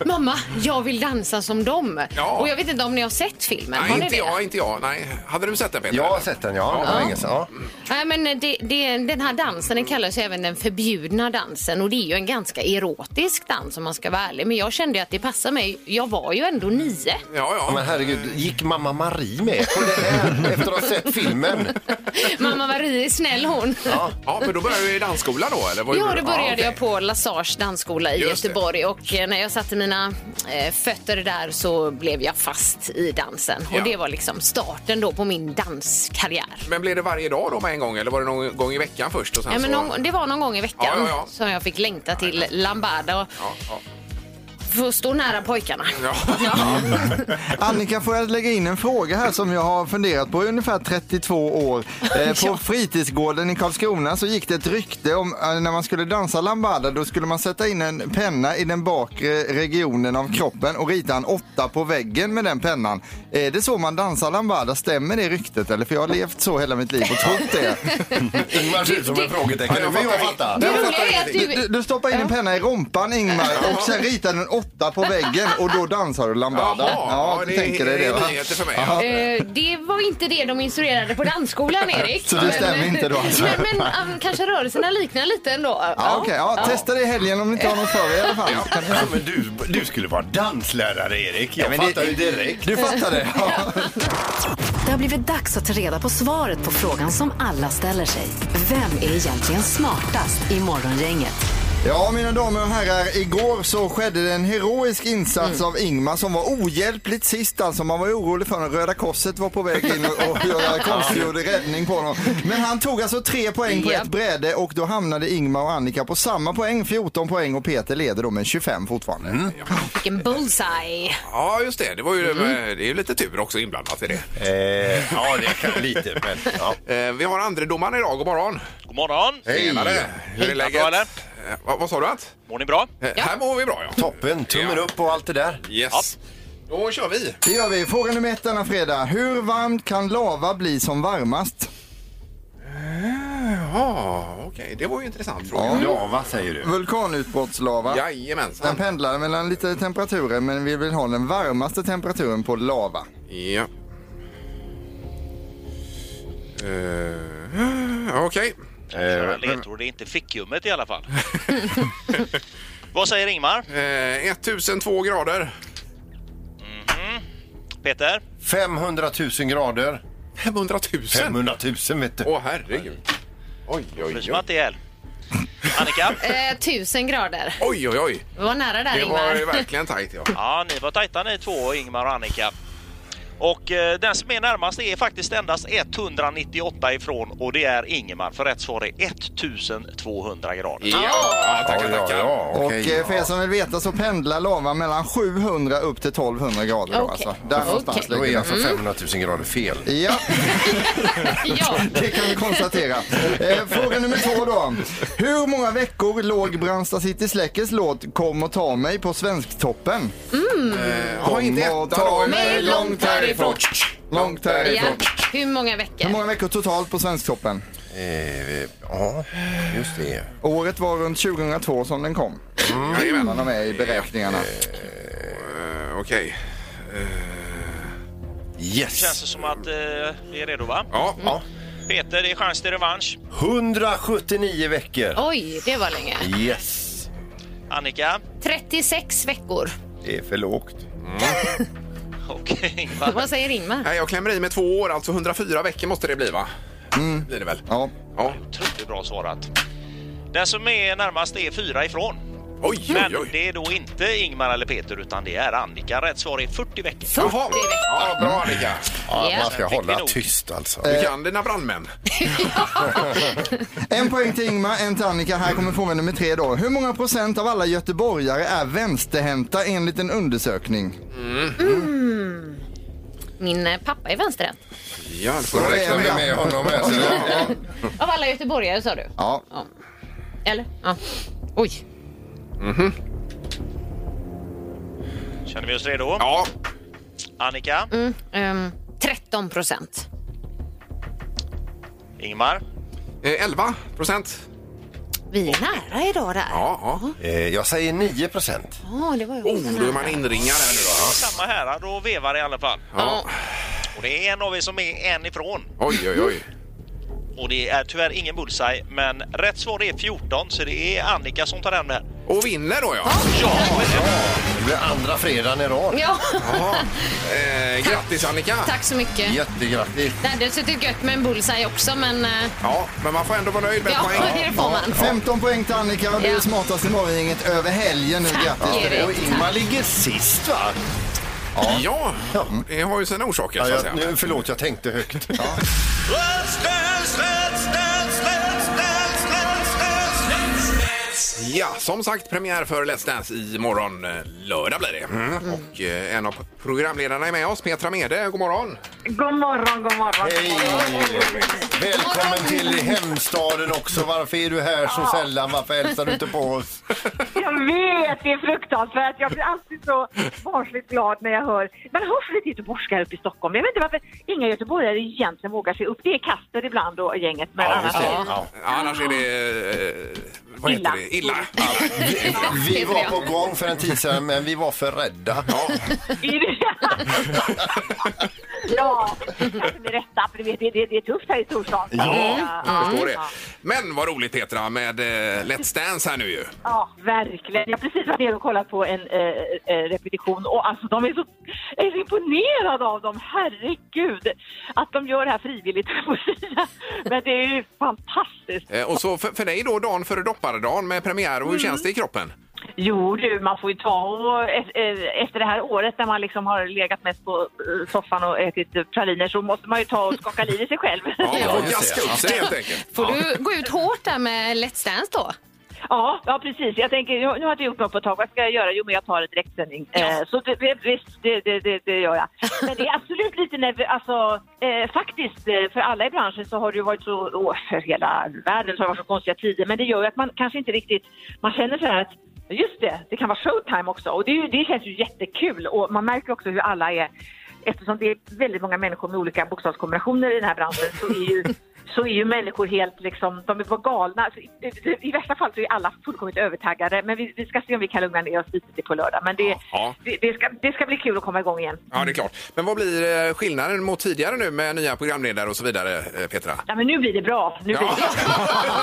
[SPEAKER 7] mamma, jag vill dansa som dem.
[SPEAKER 4] Ja.
[SPEAKER 7] Och jag vet inte om ni har sett filmen. har
[SPEAKER 4] Nej,
[SPEAKER 7] ni
[SPEAKER 4] inte
[SPEAKER 7] det?
[SPEAKER 4] jag, inte jag. Nej. Hade du sett den Peter?
[SPEAKER 6] Jag har sett den, ja. Det var länge sedan. Ja.
[SPEAKER 7] Nej, men det, det, den här dansen den kallas ju även den förbjudna dansen och det är ju en ganska erotisk dans om man ska vara ärlig. Men jag kände ju att det passar mig. Jag var ju ändå nio. (laughs)
[SPEAKER 4] Ja, ja.
[SPEAKER 6] Ja, Men herregud, gick mamma Marie med på det här (laughs) efter att ha sett filmen?
[SPEAKER 7] Mamma Marie är snäll hon. Ja,
[SPEAKER 4] Ja, men då började du i dansskola då? Eller vad gjorde du?
[SPEAKER 7] då började
[SPEAKER 4] okej.
[SPEAKER 7] jag på Lasars dansskola i
[SPEAKER 4] Just det.
[SPEAKER 7] Göteborg och eh, när jag satte mina eh, fötter där så blev jag fast i dansen.
[SPEAKER 4] Ja.
[SPEAKER 7] Och det var liksom starten då på min danskarriär.
[SPEAKER 4] Men blev det varje dag då med en gång eller var det någon gång i veckan först? Och sen
[SPEAKER 7] Ja, men
[SPEAKER 4] så...
[SPEAKER 7] någon, det var någon gång i veckan
[SPEAKER 4] Alltså. Ja, ja, ja.
[SPEAKER 7] som jag fick längta till Lambada och
[SPEAKER 4] Ja, ja.
[SPEAKER 7] få stå nära pojkarna.
[SPEAKER 4] Ja.
[SPEAKER 5] Annika, får jag lägga in en fråga här som jag har funderat på i ungefär 32 år. Eh, på fritidsgården i Karlskrona så gick det ett rykte om eh, när man skulle dansa lambada då skulle man sätta in en penna i den bakre regionen av kroppen och rita en åtta på väggen med den pennan. Är det så man dansar lambada? Stämmer det ryktet? Eller för jag har levt så hela mitt liv och trott det.
[SPEAKER 6] Ingmar ser ut som en frågetecken.
[SPEAKER 4] Ja, jag
[SPEAKER 6] Men jag
[SPEAKER 4] fattar.
[SPEAKER 6] fattar.
[SPEAKER 7] Det
[SPEAKER 4] Jag
[SPEAKER 7] roliga
[SPEAKER 4] fattar
[SPEAKER 7] är att
[SPEAKER 5] Du,
[SPEAKER 7] du...
[SPEAKER 5] du stoppar in en penna i rumpan Ingmar och sen ritar du en åtta på väggen och då dansar du lambada. ja, du tänker dig det va?
[SPEAKER 4] är nyheter för mig. Ja.
[SPEAKER 7] Eh, det var inte det de instruerade
[SPEAKER 4] (laughs)
[SPEAKER 7] på dansskolan, Erik.
[SPEAKER 5] Så det stämmer
[SPEAKER 7] Men-
[SPEAKER 5] inte då, alltså?
[SPEAKER 7] Men, men um, kanske rörelserna liknar lite ändå.
[SPEAKER 5] Ja, okej. ja, Testa det i helgen om ni inte har något för er i alla fall. Kan ni-
[SPEAKER 6] men du, du skulle vara danslärare, Erik. Jag
[SPEAKER 5] men det-
[SPEAKER 6] fattar ju direkt.
[SPEAKER 5] Du fattar det? (laughs) Ja.
[SPEAKER 3] Det har blivit dags att ta reda på svaret på frågan som alla ställer sig. Vem är egentligen smartast i Morgongänget?
[SPEAKER 5] Ja, mina damer och herrar, igår så skedde det en heroisk insats av Ingmar som var ohjälpligt sist alltså. Man var ju orolig för honom. Röda Korset var på väg in och, och (laughs) göra konstgjord räddning på honom. Men han tog alltså tre poäng på
[SPEAKER 7] Japp.
[SPEAKER 5] ett bräde och då hamnade Ingmar och Annika på samma poäng, 14 poäng och Peter leder då med 25 fortfarande.
[SPEAKER 7] Vilken bullseye.
[SPEAKER 4] ja, just det. Det, var ju, eh, det är ju lite tur också inblandat i det.
[SPEAKER 6] Eh, ja, det kan lite, men ja.
[SPEAKER 4] Eh, Vi har andre domaren idag. God morgon.
[SPEAKER 8] God morgon!
[SPEAKER 6] Hej!
[SPEAKER 4] Tjenare. Hur är läget?
[SPEAKER 8] Bra, eller?
[SPEAKER 4] Eh, Vad, vad sa du? Att?
[SPEAKER 8] Mår ni bra?
[SPEAKER 4] Eh, Här mår vi bra, ja.
[SPEAKER 6] Toppen, tummen
[SPEAKER 4] Ja.
[SPEAKER 6] upp och allt det där.
[SPEAKER 4] Yes. Då kör vi.
[SPEAKER 5] Det gör vi. Fråga nummer ett denna fredag. Hur varmt kan lava bli som varmast?
[SPEAKER 4] Ja, okej. Det var ju en intressant fråga.
[SPEAKER 6] Ja, vad säger du?
[SPEAKER 5] Vulkanutbrottslava. Den
[SPEAKER 4] Jajamensan.
[SPEAKER 5] pendlar mellan lite temperaturer men vi vill ha den varmaste temperaturen på lava.
[SPEAKER 4] Ja. Eh, Okej.
[SPEAKER 8] Några ledtrådar, det är inte fickummet i alla fall. Vad säger Ingmar?
[SPEAKER 4] Eh, 1002 grader.
[SPEAKER 8] Peter?
[SPEAKER 6] 500 000 grader.
[SPEAKER 4] 500 000.
[SPEAKER 6] 500 000 vet du.
[SPEAKER 4] Åh, herregud. Oj, oj,
[SPEAKER 8] Bryr sig man
[SPEAKER 4] oj.
[SPEAKER 8] inte ihjäl? Annika?
[SPEAKER 7] Eh, tusen grader.
[SPEAKER 4] Oj, oj, oj.
[SPEAKER 7] Vi var nära där,
[SPEAKER 4] Det var ju
[SPEAKER 7] Ingmar. (laughs)
[SPEAKER 4] verkligen tajt, ja.
[SPEAKER 8] Ja, ni var tajta ni två, Ingmar och Annika. Och eh, den som är närmast är faktiskt endast 198 ifrån och det är Ingemar för rätt svar är 1200 grader.
[SPEAKER 4] Ja, ja tackar,
[SPEAKER 6] Ja, ja,
[SPEAKER 4] tackar.
[SPEAKER 6] ja,
[SPEAKER 5] Och
[SPEAKER 6] okej,
[SPEAKER 5] eh, för er
[SPEAKER 6] ja.
[SPEAKER 5] som vill veta så pendlar lava mellan 700 upp till 1200 grader. Då,
[SPEAKER 7] Okej.
[SPEAKER 5] alltså. Där någonstans
[SPEAKER 7] Okej.
[SPEAKER 6] Då är
[SPEAKER 5] ligger
[SPEAKER 6] alltså 500 000 grader fel.
[SPEAKER 5] den. Ja,
[SPEAKER 7] ja.
[SPEAKER 5] det kan vi konstatera. Eh, fråga nummer två då. Hur många veckor låg Brandsta City Släckes låt Kom och ta mig på Svensktoppen?
[SPEAKER 7] Mm.
[SPEAKER 4] Kom inte
[SPEAKER 5] Kom och
[SPEAKER 4] etta då.
[SPEAKER 5] ta
[SPEAKER 4] men-
[SPEAKER 5] mig långt härifrån. Långt
[SPEAKER 7] ja.
[SPEAKER 5] härifrån.
[SPEAKER 7] Hur många
[SPEAKER 5] Hur
[SPEAKER 7] veckor?
[SPEAKER 5] många veckor totalt på Svensktoppen?
[SPEAKER 6] Eh, ja, just det.
[SPEAKER 5] Året var runt 2002 som den kom.
[SPEAKER 4] Jajamän.
[SPEAKER 5] Man har med i beräkningarna.
[SPEAKER 4] Eh, Okej.
[SPEAKER 8] Känns
[SPEAKER 6] Yes!
[SPEAKER 8] det som att eh, vi är redo va?
[SPEAKER 4] Ja, ja.
[SPEAKER 8] Peter, det är chans till revansch.
[SPEAKER 6] 179 veckor.
[SPEAKER 7] Oj, det var länge.
[SPEAKER 6] Yes!
[SPEAKER 8] Annika?
[SPEAKER 7] 36 veckor.
[SPEAKER 6] Det är för lågt.
[SPEAKER 8] Okej, (laughs) Ingmar.
[SPEAKER 7] Vad säger Ingmar?
[SPEAKER 4] Nej, jag klämmer i med två år, alltså 104 veckor måste det bli, va? Blir det väl?
[SPEAKER 5] Ja.
[SPEAKER 4] Ja.
[SPEAKER 8] Otroligt bra svarat. Den som är närmast är fyra ifrån.
[SPEAKER 4] Oj, oj,
[SPEAKER 8] Men
[SPEAKER 4] oj.
[SPEAKER 8] det är då inte Ingmar eller Peter utan det är Annika. Rätt svar är 40 veckor.
[SPEAKER 4] Jaha. Ja, bra Annika.
[SPEAKER 6] Ja,
[SPEAKER 7] Ja.
[SPEAKER 6] man ska
[SPEAKER 8] Fick vi
[SPEAKER 6] hålla
[SPEAKER 8] nog.
[SPEAKER 6] tyst alltså.
[SPEAKER 4] Du kan dina brandmän.
[SPEAKER 5] En poäng till Ingmar, en till Annika. Här kommer fråga nummer tre då. Hur många procent av alla göteborgare är vänsterhänta enligt en undersökning?
[SPEAKER 7] Min eh, pappa är vänsterhänt.
[SPEAKER 4] Ja, det får
[SPEAKER 6] Då
[SPEAKER 4] du
[SPEAKER 6] räknar
[SPEAKER 4] räkna
[SPEAKER 6] vi
[SPEAKER 4] med.
[SPEAKER 6] med honom här. sen.
[SPEAKER 7] Av alla göteborgare sa du?
[SPEAKER 5] Ja.
[SPEAKER 7] Eller? Ja. Oj.
[SPEAKER 8] Känner vi oss redo?
[SPEAKER 4] Ja,
[SPEAKER 8] Annika,
[SPEAKER 7] Ehm, 13 procent.
[SPEAKER 8] Ingmar,
[SPEAKER 4] eh, 11 procent.
[SPEAKER 7] Vi är nära idag där. Ja,
[SPEAKER 4] Ja, ja.
[SPEAKER 6] Eh, Jag säger 9 procent.
[SPEAKER 7] det var ju
[SPEAKER 4] Oh, då är man inringad här nu då.
[SPEAKER 8] samma här. Då vevar det i alla fall.
[SPEAKER 4] Ja.
[SPEAKER 8] Och det är en av er som är en ifrån.
[SPEAKER 4] Oj, oj, oj.
[SPEAKER 8] Och det är tyvärr ingen bullseye, men rätt svar är 14 så det är Annika som tar hem det här.
[SPEAKER 4] Och vinner då ja.
[SPEAKER 8] Ja,
[SPEAKER 6] Det blir andra fredagen i rad.
[SPEAKER 7] Ja, (laughs)
[SPEAKER 4] Jaha. Eh, grattis Annika.
[SPEAKER 7] tack så mycket.
[SPEAKER 6] Jättegrattis.
[SPEAKER 7] Det hade suttit gött med en bullseye också, men eh,
[SPEAKER 4] Ja, men man får ändå vara nöjd med
[SPEAKER 7] ja,
[SPEAKER 4] poäng.
[SPEAKER 7] (laughs) det får man.
[SPEAKER 5] 15 poäng till Annika och du är
[SPEAKER 7] Ja.
[SPEAKER 5] smartast i morgongänget över helgen nu.
[SPEAKER 7] Tack,
[SPEAKER 5] Grattis till
[SPEAKER 7] Erik.
[SPEAKER 5] det.
[SPEAKER 6] Och Ingmar ligger sist va?
[SPEAKER 4] Ja, det har ju sina orsaker
[SPEAKER 6] Ja,
[SPEAKER 4] så att
[SPEAKER 6] jag,
[SPEAKER 4] säga.
[SPEAKER 6] nu, förlåt, jag tänkte högt.
[SPEAKER 4] Ja, som sagt premiär för Let's Dance imorgon eh, lördag blir det. Och eh, en av programledarna är med oss, Petra Mede. God morgon!
[SPEAKER 2] God morgon, god morgon.
[SPEAKER 6] Hej! Välkommen till hemstaden också. Varför är du här så sällan? Varför hälsar du inte på oss?
[SPEAKER 2] Jag vet, det är fruktansvärt. Jag blir alltid så barnsligt glad när jag hör. Man hör för lite göteborgska här uppe i Stockholm. Jag vet inte varför inga göteborgare egentligen vågar sig upp. Det är Kaster ibland och gänget, men annars...
[SPEAKER 6] Ja.
[SPEAKER 4] Annars är det... Eh, vad heter
[SPEAKER 2] Illa.
[SPEAKER 4] det? Illa.
[SPEAKER 6] Vi, vi var på gång för en tid sedan, men vi var för rädda.
[SPEAKER 2] I
[SPEAKER 4] (laughs)
[SPEAKER 2] det- ja, kanske med rätta, för du vet, det, det, det är tufft här i storstan.
[SPEAKER 4] (laughs) Ja, jag förstår det.
[SPEAKER 2] Ja,
[SPEAKER 4] Men vad roligt Petra med eh, Let's Dance här nu ju.
[SPEAKER 2] ja, verkligen. Jag har precis varit nere och kollat på en eh, eh, repetition och alltså de är så, jag är så imponerade av dem, herregud. Att de gör det här frivilligt, (laughs) på sina. Men det är ju fantastiskt.
[SPEAKER 4] Eh, och så för, för dig då, dagen före dopparedagen med premiär. Och hur känns det i kroppen?
[SPEAKER 2] Jo du, man får ju ta och e- e- efter det här året när man liksom har legat mest på eh, soffan och ätit eh, praliner så måste man ju ta och skaka liv i sig själv.
[SPEAKER 4] Ja, man får
[SPEAKER 6] just det.
[SPEAKER 4] gaska upp sig helt enkelt.
[SPEAKER 7] Får du gå ut hårt där med Let's Dance då?
[SPEAKER 2] Ja, ja precis. Jag tänker, nu nu har jag inte gjort något på ett tag. Vad ska jag göra? Jo, men jag tar en direktsändning. Eh, så det, det, visst, det, det, det, det gör jag. Men det är absolut lite nervöst. Alltså, eh, faktiskt, eh, för alla i branschen så har det ju varit så, åh, för hela världen så har det varit så konstiga tider. Men det gör ju att man kanske inte riktigt, man känner så här att just det, det kan vara showtime också. Och det, är ju- det känns ju jättekul. Och man märker också hur alla är, eftersom det är väldigt många människor med olika bokstavskombinationer i den här branschen så är ju så är ju människor helt liksom, de är bara galna. Alltså, i, i, I värsta fall så är alla fullkomligt övertaggade, men vi, vi ska se om vi kan lugna ner oss lite till på lördag. Men det,
[SPEAKER 4] Ja.
[SPEAKER 2] det, det, ska, det ska bli kul att komma igång igen.
[SPEAKER 4] Ja, det är klart. Men vad blir eh, skillnaden mot tidigare nu med nya programledare och så vidare, eh, Petra?
[SPEAKER 2] Ja, men nu blir det bra. Nu blir
[SPEAKER 4] Ja.
[SPEAKER 2] det bra.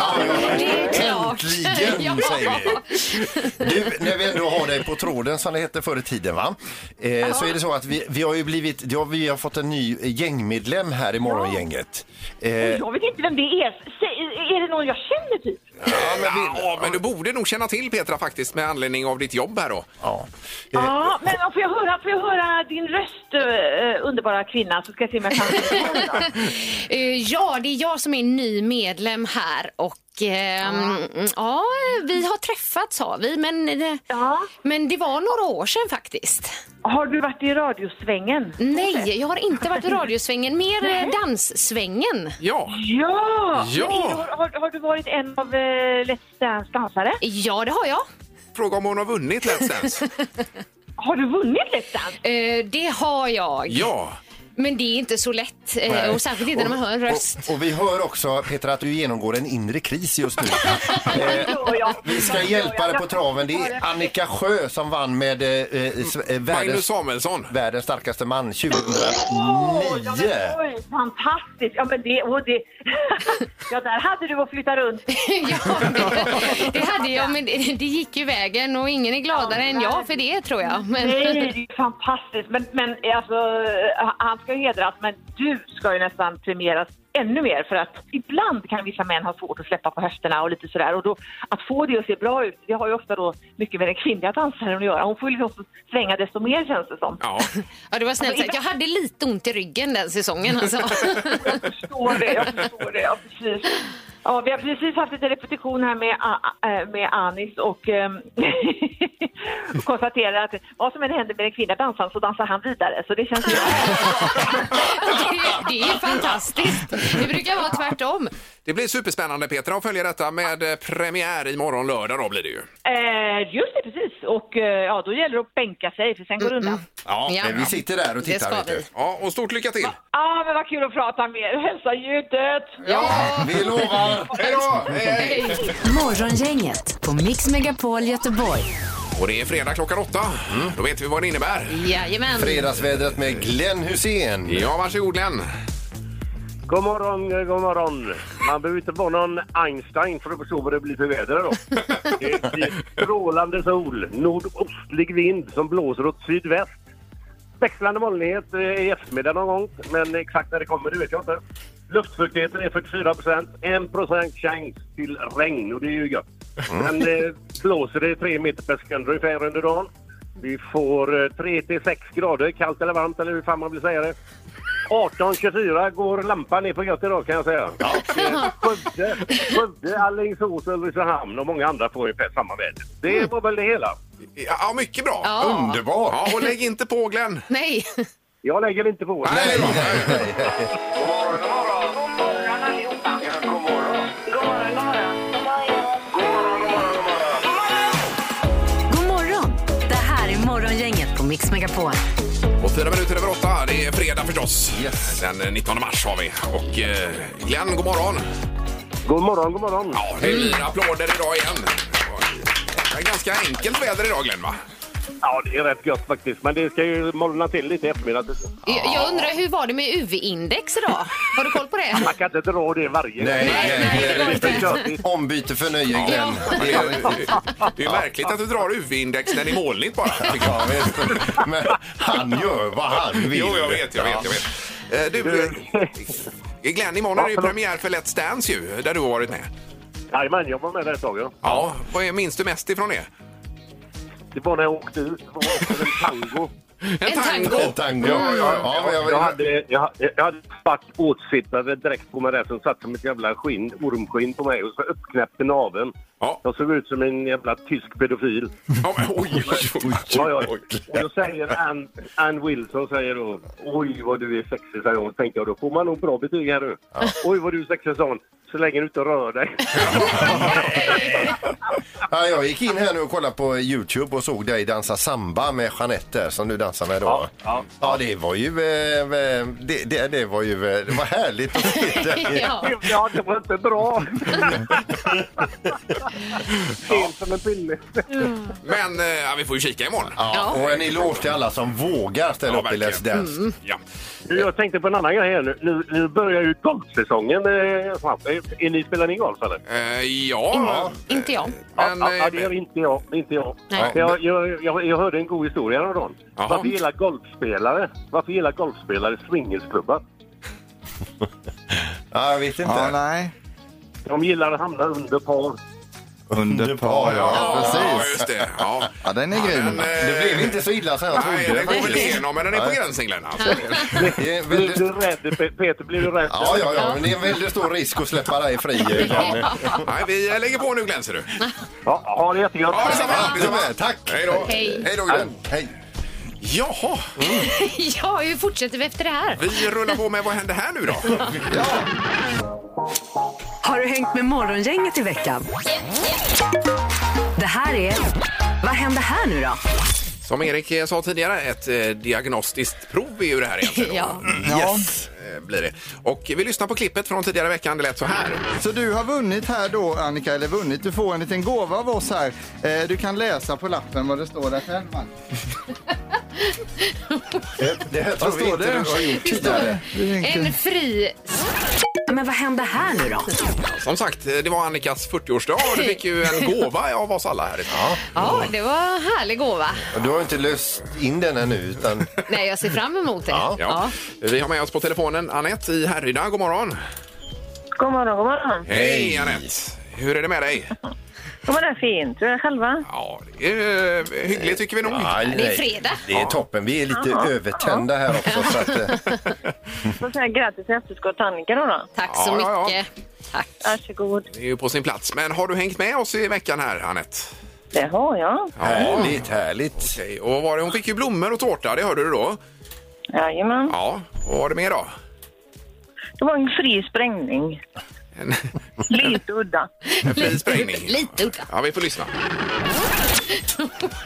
[SPEAKER 7] Det är klart.
[SPEAKER 6] Äntligen,
[SPEAKER 7] (laughs) Ja.
[SPEAKER 6] säger vi. Du, när vi ändå har dig på tråden som det hette förr i tiden, va? Eh, så är det så att vi, vi har ju blivit, ja, vi har fått en ny gängmedlem här i morgongänget. Eh,
[SPEAKER 2] Jag vet inte vem det är. Säg, är det någon jag känner typ?
[SPEAKER 4] Ja, men, du borde nog känna till Petra faktiskt med anledning av ditt jobb här då.
[SPEAKER 6] ja.
[SPEAKER 2] Ja, men får jag höra, får jag höra din röst, eh, underbara kvinna, så ska jag se om jag kan...
[SPEAKER 7] Eh, Ja, det är jag som är ny medlem här och ehm, ja, vi har träffats har vi, men, eh,
[SPEAKER 2] Ja.
[SPEAKER 7] men det var några år sedan faktiskt.
[SPEAKER 2] Har du varit i radiosvängen?
[SPEAKER 7] Nej, jag har inte varit i radiosvängen, mer eh, danssvängen.
[SPEAKER 4] Ja,
[SPEAKER 2] Ja!
[SPEAKER 4] Ja.
[SPEAKER 2] Men är du- Har, har, har du varit en av eh, Let's Dance dansare?
[SPEAKER 7] Ja, det har jag.
[SPEAKER 4] fråga om hon har vunnit Let's (laughs) Dance.
[SPEAKER 2] Har du vunnit Let's Dance?
[SPEAKER 7] Eh, Det har jag.
[SPEAKER 4] Ja,
[SPEAKER 7] Men det är inte så lätt, eh,
[SPEAKER 6] Nej.
[SPEAKER 7] och särskilt inte när man hör en röst.
[SPEAKER 6] Och, och vi hör också, Petra, att du genomgår en inre kris just
[SPEAKER 7] (laughs)
[SPEAKER 6] nu. Eh,
[SPEAKER 2] Ja, ja.
[SPEAKER 6] vi ska hjälpa dig på traven. Det är Annika Sjö som vann med eh, eh, s- eh,
[SPEAKER 4] Magnus
[SPEAKER 6] världens,
[SPEAKER 4] Samuelsson.
[SPEAKER 6] världens starkaste man
[SPEAKER 2] Åh, ja,
[SPEAKER 6] 2009.
[SPEAKER 2] men oj, Fantastiskt! Ja, men det, och det... (laughs) ja, där hade du att flytta runt.
[SPEAKER 7] (laughs) ja, det, det hade jag, men det, det gick ju vägen och ingen är gladare än jag för det tror jag. Men,
[SPEAKER 2] Nej, det är fantastiskt. Men, men alltså, eh, hans ska ju hedras, men du ska ju nästan premieras ännu mer för att ibland kan vissa män ha svårt att släppa på höfterna och lite sådär och då att få det att se bra ut, det har ju ofta då mycket med den kvinnliga dansaren att göra. Hon får ju liksom svänga desto mer känns det som.
[SPEAKER 4] Ja,
[SPEAKER 7] (laughs) Ja, det var snällt sagt. Jag hade lite ont i ryggen den säsongen alltså.
[SPEAKER 2] Jag förstår det, jag förstår det, ja precis. Ja, vi har precis haft lite repetition här med, A- eh, med Anis och ehm, (laughs) konstaterar att vad som än händer med den kvinnliga dansaren så dansar han vidare. Så det känns ju...
[SPEAKER 7] det, det är ju fantastiskt. Det brukar vara tvärtom.
[SPEAKER 4] det blir superspännande Peter att följa detta med eh, premiär imorgon lördag då blir det ju.
[SPEAKER 2] Eh, just det, precis. Och eh, ja, då gäller det att bänka sig för sen går det undan.
[SPEAKER 4] Ja,
[SPEAKER 7] Ja.
[SPEAKER 6] Men Eh, vi sitter där och
[SPEAKER 7] Det
[SPEAKER 6] tittar.
[SPEAKER 7] ska
[SPEAKER 6] vet du.
[SPEAKER 7] vi.
[SPEAKER 4] Ja, och stort lycka till!
[SPEAKER 2] Ja, ah, men vad kul att prata med er. Hälsa ljudet!
[SPEAKER 6] Ja, vi lovar.
[SPEAKER 4] Hej då! Hej, hej.
[SPEAKER 3] Morgongänget på Mix Megapol Göteborg.
[SPEAKER 4] Och det är fredag klockan åtta. Mm, Då vet vi vad det innebär.
[SPEAKER 7] Jajamän.
[SPEAKER 6] Fredagsvädret med Glenn Hussein.
[SPEAKER 4] Ja, varsågod Glenn.
[SPEAKER 9] God morgon, eh, god morgon. Man behöver inte vara någon Einstein för att förstå vad det blir för väder då. Det blir strålande sol, nordostlig vind som blåser åt sydväst. Växlande molnighet eh, i eftermiddag någon gång, men exakt när det kommer det vet jag inte. Luftfuktigheten är 44 procent, 1 procent chans till regn och det är ju gött. Men eh, blåser det 3 meter per sekund ungefär under dagen. Vi får 3 till 6 grader, kallt eller varmt eller hur fan man vill säga det. 18.24 går lampan ner på gött idag kan jag säga. Ja. Skövde, Skövde, Alingsås, Ulricehamn och många andra får ungefär samma väder. Det var väl det hela.
[SPEAKER 4] Ja, mycket bra.
[SPEAKER 7] Ja.
[SPEAKER 4] Underbart. Ja, och lägg inte på Glenn.
[SPEAKER 7] Nej.
[SPEAKER 9] Jag lägger inte på.
[SPEAKER 4] (laughs) Nej, då.
[SPEAKER 3] God morgon! Det här är Morgongänget på Mix Megapol.
[SPEAKER 4] Och fyra minuter över åtta. Det är fredag förstås.
[SPEAKER 6] Yes.
[SPEAKER 4] Den eh, 19 mars har vi. Och eh, Glenn, god morgon.
[SPEAKER 9] God morgon, god morgon.
[SPEAKER 4] Ja, det blir applåder idag igen. Det är ganska enkelt väder idag Glenn, va?
[SPEAKER 9] Ja, det är rätt gött faktiskt. Men det ska ju molna till lite i eftermiddag.
[SPEAKER 7] Jag jag undrar hur var det med UV-index idag? Har du koll på det?
[SPEAKER 9] (laughs) Man kan inte dra det varje
[SPEAKER 6] Nej,
[SPEAKER 9] gång.
[SPEAKER 6] nej,
[SPEAKER 9] Det är för tjötigt.
[SPEAKER 6] Ombyte för nöje, Glenn.
[SPEAKER 4] Men Det är, det är ju märkligt att du drar UV-index när det är molnigt bara. tycker jag.
[SPEAKER 6] Ja, visst. Men han gör vad han vill.
[SPEAKER 4] Jo, jag vet, jag vet, jag vet. Eh, Du, eh, Glenn, imorgon är det ju premiär för Let's Dance ju, där du har varit med.
[SPEAKER 9] Jajamän, jag var med där ett tag. Ja.
[SPEAKER 4] Ja, vad är- minns du mest ifrån det?
[SPEAKER 9] Det var när jag åkte ut. Det var också en tango.
[SPEAKER 7] En tango.
[SPEAKER 6] Ja. Tango. Ja, ja, men jag-
[SPEAKER 9] Jag hade, jag, jag hade svart åtsittande direkt på mig där som satt som ett jävla skinn, ormskinn på mig och så uppknäppt i naveln.
[SPEAKER 4] Ja.
[SPEAKER 9] Jag såg ut som en jävla tysk pedofil.
[SPEAKER 4] Ja, men oj, oj, oj.
[SPEAKER 9] Ja, ja. Och då säger Ann, Ann Wilson säger då Oj vad du är sexig säger hon. Tänker jag då får man nog bra betyg här nu. Oj vad du är sexig sa hon. Så länge du inte rör dig.
[SPEAKER 6] Ja, jag gick in här nu och kollade på Youtube och såg dig dansa samba med Jeanette där, som du dansar med då. Ja,
[SPEAKER 9] Ja, ja.
[SPEAKER 6] det var ju... eh, eh, Det, det, det var ju... eh, Det var härligt att se
[SPEAKER 7] (laughs)
[SPEAKER 6] dig.
[SPEAKER 7] Ja.
[SPEAKER 9] Ja det var inte bra. Sent som en pinne.
[SPEAKER 4] Men eh, ja, vi får ju kika imorgon.
[SPEAKER 6] Ja, och en eloge till alla som vågar ställa
[SPEAKER 4] Ja,
[SPEAKER 6] upp i Let's
[SPEAKER 4] verkligen.
[SPEAKER 6] Dance.
[SPEAKER 7] Mm.
[SPEAKER 4] Ja.
[SPEAKER 9] Du, Jag tänkte på en annan grej här nu. Nu, nu börjar ju golfsäsongen. eh, snart. Är- Är ni, spelar ni golf eller?
[SPEAKER 4] Eh, ja,
[SPEAKER 7] Inte jag.
[SPEAKER 4] men...
[SPEAKER 9] ja, ja,
[SPEAKER 4] eh,
[SPEAKER 9] det gör inte jag. det är Inte jag.
[SPEAKER 7] Nej.
[SPEAKER 9] Jag, jag, jag, jag hörde en god historia häromdagen.
[SPEAKER 4] Jaha.
[SPEAKER 9] Varför gillar golfspelare, varför gillar golfspelare swingersklubbar?
[SPEAKER 6] Ja, jag vet inte.
[SPEAKER 5] Ja, nej.
[SPEAKER 9] De gillar att hamna under par.
[SPEAKER 5] Under par, ja.
[SPEAKER 4] Ja,
[SPEAKER 5] Precis.
[SPEAKER 4] just det. Ja.
[SPEAKER 5] Ja, den är grym.
[SPEAKER 4] Men, eh,
[SPEAKER 6] Det blev inte så illa som jag
[SPEAKER 4] Nej,
[SPEAKER 6] trodde.
[SPEAKER 4] den går väl
[SPEAKER 6] faktiskt.
[SPEAKER 4] igenom, men den är på
[SPEAKER 6] Nej.
[SPEAKER 4] gränsen Glenn. Alltså.
[SPEAKER 6] Det är en
[SPEAKER 9] Blir du
[SPEAKER 6] väldigt-
[SPEAKER 9] rädd, Pe- Peter? Blir du rädd?
[SPEAKER 6] Ja, ja, ja, men det är en väldigt stor risk att släppa dig fri. eh, Glenn.
[SPEAKER 4] Nej, vi eh, lägger på nu Glenn, ser du.
[SPEAKER 9] Ja, ha det jättegött.
[SPEAKER 4] Ja, detsamma. detsamma.
[SPEAKER 6] Ja, Tack!
[SPEAKER 4] Hej då.
[SPEAKER 7] Hej.
[SPEAKER 6] Hej då, Glenn. Hej.
[SPEAKER 4] Jaha,
[SPEAKER 7] (laughs) Ja, hur fortsätter vi efter det här?
[SPEAKER 4] vi rullar på med vad händer här nu då?
[SPEAKER 3] Har du hängt med Morgongänget i veckan? Det här är... Vad händer här nu då?
[SPEAKER 4] Som Erik eh, sa tidigare, ett eh, diagnostiskt prov är ju det här egentligen. då.
[SPEAKER 7] Ja.
[SPEAKER 4] Yes, eh, blir det. Och vi lyssnar på klippet från tidigare veckan. Det lät så här.
[SPEAKER 5] Så du har vunnit här då, Annika, eller vunnit, du får en liten gåva av oss här. Eh, du kan läsa på lappen vad det står där själv, man.
[SPEAKER 6] Det här tror
[SPEAKER 5] Vad
[SPEAKER 6] vi
[SPEAKER 5] står det?
[SPEAKER 6] inte du har gjort
[SPEAKER 7] Det står
[SPEAKER 6] tidigare.
[SPEAKER 5] Det är en
[SPEAKER 7] En fri...
[SPEAKER 3] Men vad hände här nu då?
[SPEAKER 4] Som sagt, eh, det var Annikas 40-årsdag och du fick ju en gåva av oss alla här. Ja.
[SPEAKER 7] Ja, det var en härlig gåva.
[SPEAKER 6] Och Du har inte löst in den ännu utan
[SPEAKER 7] (laughs) Nej, jag ser fram emot det.
[SPEAKER 6] Ja.
[SPEAKER 4] Ja. Vi har med oss på telefonen Anette i Härryda. God morgon!
[SPEAKER 2] God morgon, god morgon.
[SPEAKER 4] Hej Anette! Hur är det med dig?
[SPEAKER 2] God morgon, fint. Hur är det själva?
[SPEAKER 4] Ja, det är eh, hyggligt tycker vi nog.
[SPEAKER 6] Nej,
[SPEAKER 7] det är fredag.
[SPEAKER 6] Det är toppen. Vi är lite övertända här också. Så att, eh,
[SPEAKER 2] Så säger jag grattis i efterskott till Annika då. då.
[SPEAKER 7] Tack
[SPEAKER 4] Ja,
[SPEAKER 7] så
[SPEAKER 4] ja, ja.
[SPEAKER 7] mycket. Tack.
[SPEAKER 2] Varsågod.
[SPEAKER 4] Det är ju på sin plats. Men har du hängt med oss i veckan här, Anette?
[SPEAKER 2] Det har jag.
[SPEAKER 6] härligt, härligt.
[SPEAKER 4] Okej, Och vad var det? Hon fick ju blommor och tårta, det hörde du då?
[SPEAKER 2] Jajamän.
[SPEAKER 4] Ja, och vad var det mer då?
[SPEAKER 2] Det var en fri sprängning.
[SPEAKER 4] En,
[SPEAKER 2] Lite udda.
[SPEAKER 4] en fri sprängning.
[SPEAKER 7] Lite udda.
[SPEAKER 4] Ja, vi får lyssna.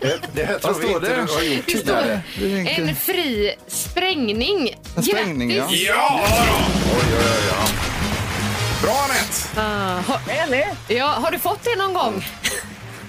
[SPEAKER 6] Det- Det här tror vi
[SPEAKER 5] står
[SPEAKER 6] inte
[SPEAKER 5] det?
[SPEAKER 6] du har gjort tidigare.
[SPEAKER 7] En fri sprängning.
[SPEAKER 5] sprängning, ja.
[SPEAKER 7] Grattis!
[SPEAKER 4] Ja! Bra Anette!
[SPEAKER 2] Eller?
[SPEAKER 7] Ja, har du fått det någon gång?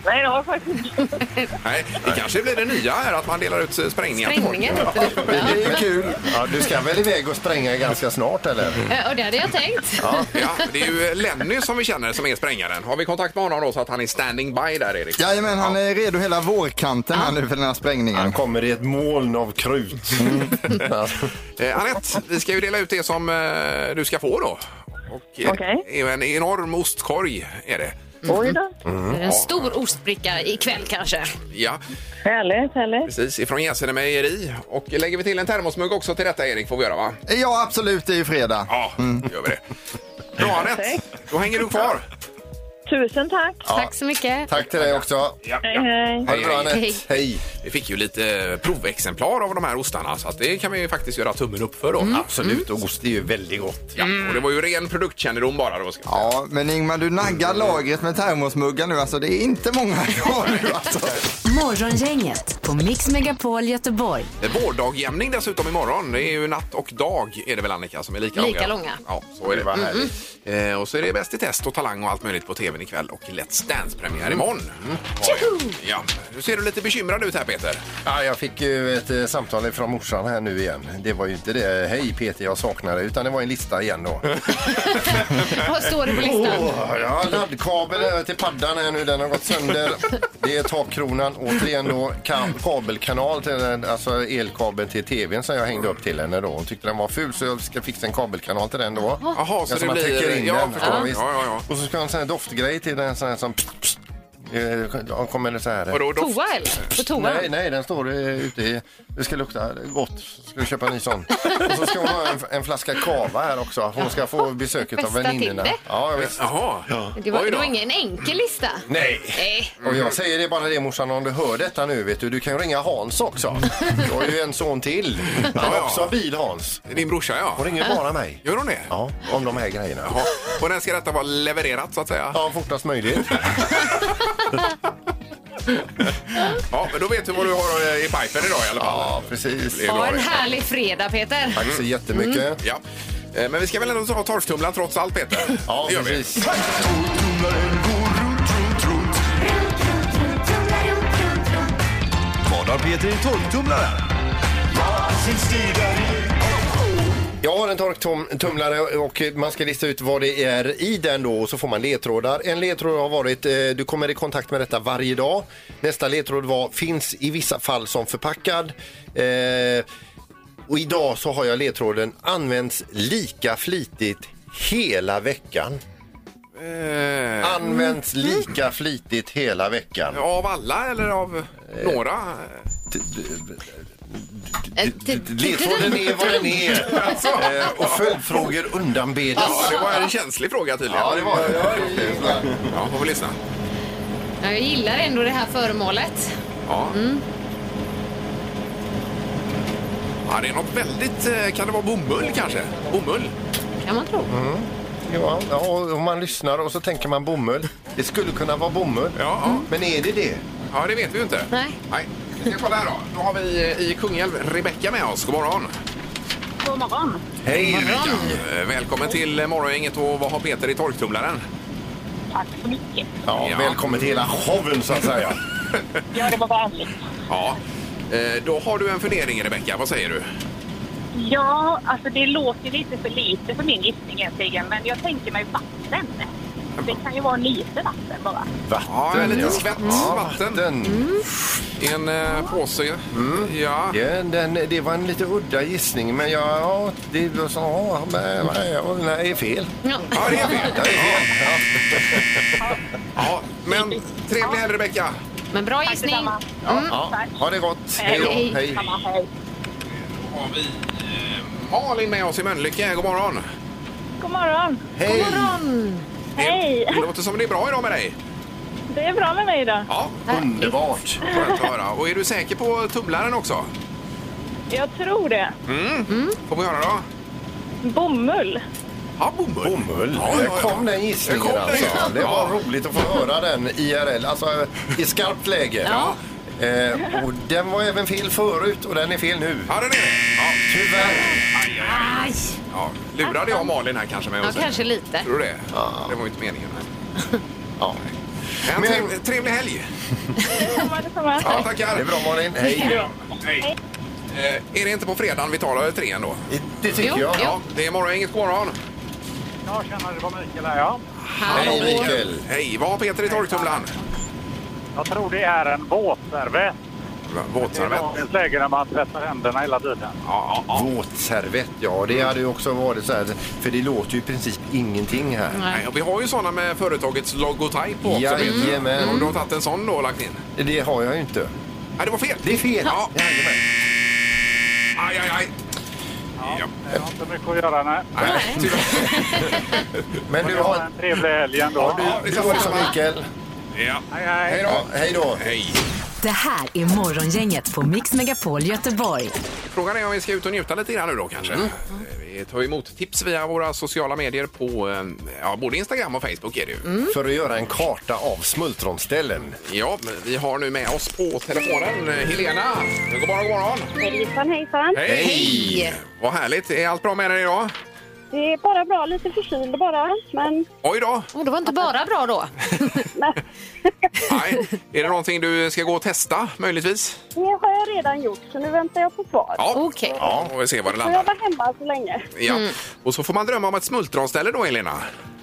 [SPEAKER 2] Nej, det har jag faktiskt inte.
[SPEAKER 4] Nej, det kanske blir det nya här att man delar ut eh, sprängningar till folk.
[SPEAKER 7] Sprängningen heter det.
[SPEAKER 5] Det är kul. Mm.
[SPEAKER 6] Ja, du ska väl iväg och spränga ganska snart eller?
[SPEAKER 7] (laughs) Ja, Och det hade jag tänkt.
[SPEAKER 4] Ja, det är ju Lenny som vi känner som är sprängaren. Har vi kontakt med honom då så att han är standing by där Erik?
[SPEAKER 5] Jajamän, han är redo hela vårkanten här nu för den här
[SPEAKER 6] Han
[SPEAKER 5] sprängningen.
[SPEAKER 6] kommer i ett moln av krut.
[SPEAKER 5] Mm.
[SPEAKER 6] (laughs) Ja.
[SPEAKER 4] Eh, Anette, vi ska ju dela ut det som eh, du ska få då. Och, eh,
[SPEAKER 2] Okej.
[SPEAKER 4] det är ju En enorm ostkorg är det.
[SPEAKER 2] Oj då.
[SPEAKER 7] En stor ostbricka ikväll kanske.
[SPEAKER 4] Ja,
[SPEAKER 2] Härligt, härligt.
[SPEAKER 4] precis. Ifrån Gäsene Mejeri. Och lägger vi till en termosmugg också till detta Erik får vi göra va?
[SPEAKER 5] Ja, absolut, det är ju fredag.
[SPEAKER 4] Ja,
[SPEAKER 6] Mm.
[SPEAKER 4] då gör vi det. Bra Anette, då hänger du kvar.
[SPEAKER 2] Tusen tack.
[SPEAKER 7] Tack så mycket.
[SPEAKER 6] Tack till dig också. Ha
[SPEAKER 2] Hej, hej.
[SPEAKER 6] det bra Anette. Hej.
[SPEAKER 4] Vi fick ju lite provexemplar av de här ostarna så att det kan vi ju faktiskt göra tummen upp för då.
[SPEAKER 2] Mm.
[SPEAKER 6] Absolut, och ost är ju väldigt gott.
[SPEAKER 4] Ja, och det var ju ren produktkännedom bara då. Ska jag säga.
[SPEAKER 5] Ja, men Ingmar, du naggar lagret med termosmuggar nu alltså. Det är inte många kvar nu alltså.
[SPEAKER 3] Morgongänget på Mix Megapol Göteborg.
[SPEAKER 4] Eh, Vårdagjämning dessutom imorgon. Det är ju natt och dag är det väl Annika som är lika,
[SPEAKER 7] Lika
[SPEAKER 4] långa.
[SPEAKER 7] långa.
[SPEAKER 4] Ja, så är det.
[SPEAKER 6] Det var Mm, härligt.
[SPEAKER 4] Eh, och så är det Bäst i test och Talang och allt möjligt på tvn ikväll och Let's Dance-premiär imorgon. Mm. Ja, nu ser du lite bekymrad ut här Peter.
[SPEAKER 6] Ja, jag fick ju ett eh, samtal från morsan här nu igen. Det var ju inte det, hej Peter jag saknar dig, utan det var en lista igen då.
[SPEAKER 7] Vad står det på listan?
[SPEAKER 6] Åh, jag har laddkabel eh, till paddan här nu, den har gått sönder. Det är takkronan, återigen då ka- kabelkanal, till den, alltså elkabeln till tvn som jag hängde upp till henne då. Hon tyckte den var ful så jag ska fixa en kabelkanal till den då.
[SPEAKER 4] Jaha, så
[SPEAKER 6] Ja,
[SPEAKER 4] det
[SPEAKER 6] man täcker
[SPEAKER 4] blir...
[SPEAKER 6] in
[SPEAKER 4] ja,
[SPEAKER 6] den.
[SPEAKER 4] förstår.
[SPEAKER 6] Ja,
[SPEAKER 4] Ja,
[SPEAKER 6] visst.
[SPEAKER 4] ja, ja.
[SPEAKER 6] Och så ska jag ha en sån här doftgrej till den sån här som... Pst, pst, Eh, ja, kommer det så här. eh.
[SPEAKER 4] Vadå, doft?
[SPEAKER 7] Toa eller? På toan?
[SPEAKER 6] Nej, nej, den står eh, ute i... Det ska lukta gott. Ska du köpa en ny sån? Och så ska hon ha en, en flaska kava här också. Hon ska få besöket av
[SPEAKER 7] Festa till
[SPEAKER 6] väninnorna.
[SPEAKER 7] det.
[SPEAKER 6] Ja, visst.
[SPEAKER 4] Jaha. Ja.
[SPEAKER 7] Det var, det var ingen enkel lista.
[SPEAKER 6] Nej.
[SPEAKER 7] Nej.
[SPEAKER 6] Och
[SPEAKER 4] Mm.
[SPEAKER 6] jag säger det bara det morsan om du hör detta nu vet du. Du kan ju ringa
[SPEAKER 4] (laughs)
[SPEAKER 6] Hans också. Du har ju en son till. Han
[SPEAKER 4] Ja,
[SPEAKER 6] har
[SPEAKER 4] ja.
[SPEAKER 6] också en bil Hans.
[SPEAKER 4] Din brorsa
[SPEAKER 6] Hon
[SPEAKER 4] ja.
[SPEAKER 6] ringer bara mig.
[SPEAKER 4] Gör hon det?
[SPEAKER 6] Ja, om de här grejerna.
[SPEAKER 4] Jaha. Och när ska detta vara levererat så att säga?
[SPEAKER 6] Ja, fortast möjligt.
[SPEAKER 4] Ja, men då vet du vad du har eh, i pipen idag i alla fall.
[SPEAKER 6] Ja, precis.
[SPEAKER 4] Det är bra
[SPEAKER 7] Ha en
[SPEAKER 4] det.
[SPEAKER 7] härlig fredag Peter.
[SPEAKER 6] Tack så jättemycket.
[SPEAKER 4] Ja. Eh, Men vi ska väl ändå ta torrstumlaren trots allt, Peter?
[SPEAKER 6] Ja,
[SPEAKER 4] Det gör vi.
[SPEAKER 6] precis.
[SPEAKER 10] Vad har Peter i torktumlaren?
[SPEAKER 6] Jag har en torktumlare och man ska lista ut vad det är i den då och så får man ledtrådar. En ledtråd har varit eh, du kommer i kontakt med detta varje dag. Nästa ledtråd var finns i vissa fall som förpackad. Eh, och idag så har jag ledtråden används lika flitigt hela veckan.
[SPEAKER 4] Eh,
[SPEAKER 6] Används lika flitigt hela veckan.
[SPEAKER 4] Av alla eller av några?
[SPEAKER 7] Eh, till- till-
[SPEAKER 6] Ledtråden är vad den är eh, och följdfrågor
[SPEAKER 4] Alltså. Ja,
[SPEAKER 6] undanbedes.
[SPEAKER 4] det var en känslig fråga tydligen.
[SPEAKER 6] Ja, det var det.
[SPEAKER 4] Ja, får vi lyssna.
[SPEAKER 7] Ja, Jag gillar ändå det här föremålet.
[SPEAKER 4] Ja.
[SPEAKER 6] Mm.
[SPEAKER 4] Ja, det är något väldigt... eh, Kan det vara bomull kanske? Bomull?
[SPEAKER 7] Kan man tro.
[SPEAKER 6] Ja, ja, och om man lyssnar och så tänker man bomull. Det skulle kunna vara bomull.
[SPEAKER 4] Ja, ja.
[SPEAKER 6] Men är det det?
[SPEAKER 4] ja det vet vi ju inte.
[SPEAKER 7] Nej.
[SPEAKER 4] Nej. Vi ska kolla här då. Då har vi eh, i Kungälv Rebecka med oss. God morgon.
[SPEAKER 2] God morgon.
[SPEAKER 4] Hej Rebecka. Eh, Välkommen till eh, Morgongänget och vad har Peter i torktumlaren?
[SPEAKER 2] Tack så mycket.
[SPEAKER 6] Ja,
[SPEAKER 4] Ja.
[SPEAKER 6] Välkommen till hela showen så
[SPEAKER 4] (laughs)
[SPEAKER 6] att säga.
[SPEAKER 2] Ja, det var vänligt.
[SPEAKER 4] Ja. Eh, Då har du en fundering Rebecka. Vad säger du?
[SPEAKER 2] Ja, alltså det låter lite för lite för min gissning egentligen, men jag tänker mig vatten. Det kan ju vara lite vatten bara.
[SPEAKER 4] Ja, en liten skvätt vatten
[SPEAKER 6] Den,
[SPEAKER 4] i en eh, påse. Ja.
[SPEAKER 6] ja, den, det var en lite udda gissning, men jag... Ja, det var så... Ja, men, ja, nej, fel.
[SPEAKER 7] Ja.
[SPEAKER 4] ja, det är
[SPEAKER 6] Ja,
[SPEAKER 4] fel.
[SPEAKER 6] det är fel.
[SPEAKER 4] (laughs) Ja, men trevlig helg, Rebecka.
[SPEAKER 7] Men bra gissning.
[SPEAKER 6] Ja, ha det gott. Hej
[SPEAKER 2] Hej.
[SPEAKER 6] då. Hej.
[SPEAKER 2] Hej.
[SPEAKER 4] har vi eh, Malin med oss i Mölnlycke. God morgon!
[SPEAKER 2] God morgon!
[SPEAKER 6] Hej.
[SPEAKER 2] Hej!
[SPEAKER 4] Det låter som det är bra idag med dig.
[SPEAKER 2] Det är bra med mig idag.
[SPEAKER 4] Ja,
[SPEAKER 6] Underbart.
[SPEAKER 4] skönt att höra. Och är du säker på tumlaren också?
[SPEAKER 2] Jag tror det.
[SPEAKER 4] Får vi höra då?
[SPEAKER 2] Bomull.
[SPEAKER 4] Ja, bomull.
[SPEAKER 6] Bomull.
[SPEAKER 4] Ja, ja, ja.
[SPEAKER 6] Där kom den gissningen
[SPEAKER 4] Där kom den,
[SPEAKER 6] alltså.
[SPEAKER 4] ja.
[SPEAKER 6] Det var
[SPEAKER 4] Ja.
[SPEAKER 6] roligt att få höra den IRL, alltså i skarpt läge.
[SPEAKER 7] Ja.
[SPEAKER 6] Eh, och den var även fel förut och den är fel nu.
[SPEAKER 4] Ja, den är det. Ja,
[SPEAKER 6] Tyvärr.
[SPEAKER 7] Aj!
[SPEAKER 4] ja. Lurade jag Malin här kanske med
[SPEAKER 7] Ja,
[SPEAKER 4] att säga.
[SPEAKER 7] kanske lite.
[SPEAKER 4] Tror du det? Det var ju inte
[SPEAKER 7] (laughs)
[SPEAKER 4] meningen.
[SPEAKER 6] Ja.
[SPEAKER 4] Men
[SPEAKER 6] Men-
[SPEAKER 4] trevlig, trevlig helg!
[SPEAKER 2] Detsamma, detsamma.
[SPEAKER 4] Ja, tackar!
[SPEAKER 6] Det är bra Malin. Hej.
[SPEAKER 4] Hej. Eh, är det inte på fredagen vi tar tre ändå?
[SPEAKER 6] Det tycker
[SPEAKER 7] Jo,
[SPEAKER 6] jag.
[SPEAKER 7] jo.
[SPEAKER 4] Ja, det är morgon, inget morgon.
[SPEAKER 9] Ja, tjena, det var Mikael här, ja.
[SPEAKER 6] Hej
[SPEAKER 7] Hallå.
[SPEAKER 6] Mikael.
[SPEAKER 4] Hej, vad har Peter i torktumlaren?
[SPEAKER 9] Jag tror det är en våtservett. Det är
[SPEAKER 4] Våtservett. Ja,
[SPEAKER 9] dagens läge när man tvättar händerna hela tiden.
[SPEAKER 4] ja, ja.
[SPEAKER 6] Våtservett, ja det hade ju också varit så här, för det låter ju i princip ingenting här.
[SPEAKER 4] Nej, och vi har ju sådana med företagets logotyp på också. vet du.
[SPEAKER 6] Jajamän.
[SPEAKER 4] Har du tagit en sån då och lagt in?
[SPEAKER 6] Det har jag ju inte.
[SPEAKER 4] Nej, det var fel.
[SPEAKER 6] Det är fel.
[SPEAKER 4] Ja.
[SPEAKER 6] Jajamän.
[SPEAKER 4] Aj, aj, aj. Ja.
[SPEAKER 9] Det har inte mycket att göra, nej.
[SPEAKER 4] Nej, tyvärr.
[SPEAKER 6] Men du
[SPEAKER 9] Ha
[SPEAKER 6] har...
[SPEAKER 9] en trevlig helg ändå.
[SPEAKER 4] Ja, liksom.
[SPEAKER 6] Du får det som Mikael.
[SPEAKER 4] Ja.
[SPEAKER 9] Hej, hej.
[SPEAKER 6] Hej då. Hej då.
[SPEAKER 4] Hej.
[SPEAKER 3] Det här är Morgongänget på Mix Megapol Göteborg.
[SPEAKER 4] Frågan är om vi ska ut och njuta lite grann nu då kanske. Eh, Vi tar emot tips via våra sociala medier på eh, ja, både Instagram och Facebook är det ju.
[SPEAKER 6] För att göra en karta av smultronställen.
[SPEAKER 4] Ja, men vi har nu med oss på telefonen eh, Helena. God morgon, god morgon.
[SPEAKER 11] Hejsan, hejsan.
[SPEAKER 4] Hej. Vad härligt. Är allt bra med dig idag?
[SPEAKER 11] Det är bara bra, lite förkyld bara. Men
[SPEAKER 4] Oj då.
[SPEAKER 7] Och Oh, det var inte bara bra då.
[SPEAKER 4] Nej. Är det någonting du ska gå och testa möjligtvis?
[SPEAKER 11] det har jag redan gjort, så nu väntar jag på svar.
[SPEAKER 4] Ja,
[SPEAKER 7] Okej.
[SPEAKER 4] ja och vi ser var det
[SPEAKER 11] Så Oh. jag Mm.
[SPEAKER 4] landar.
[SPEAKER 11] var hemma så länge.
[SPEAKER 4] Ja. Och så får man drömma om ett smultronställe då, Elina.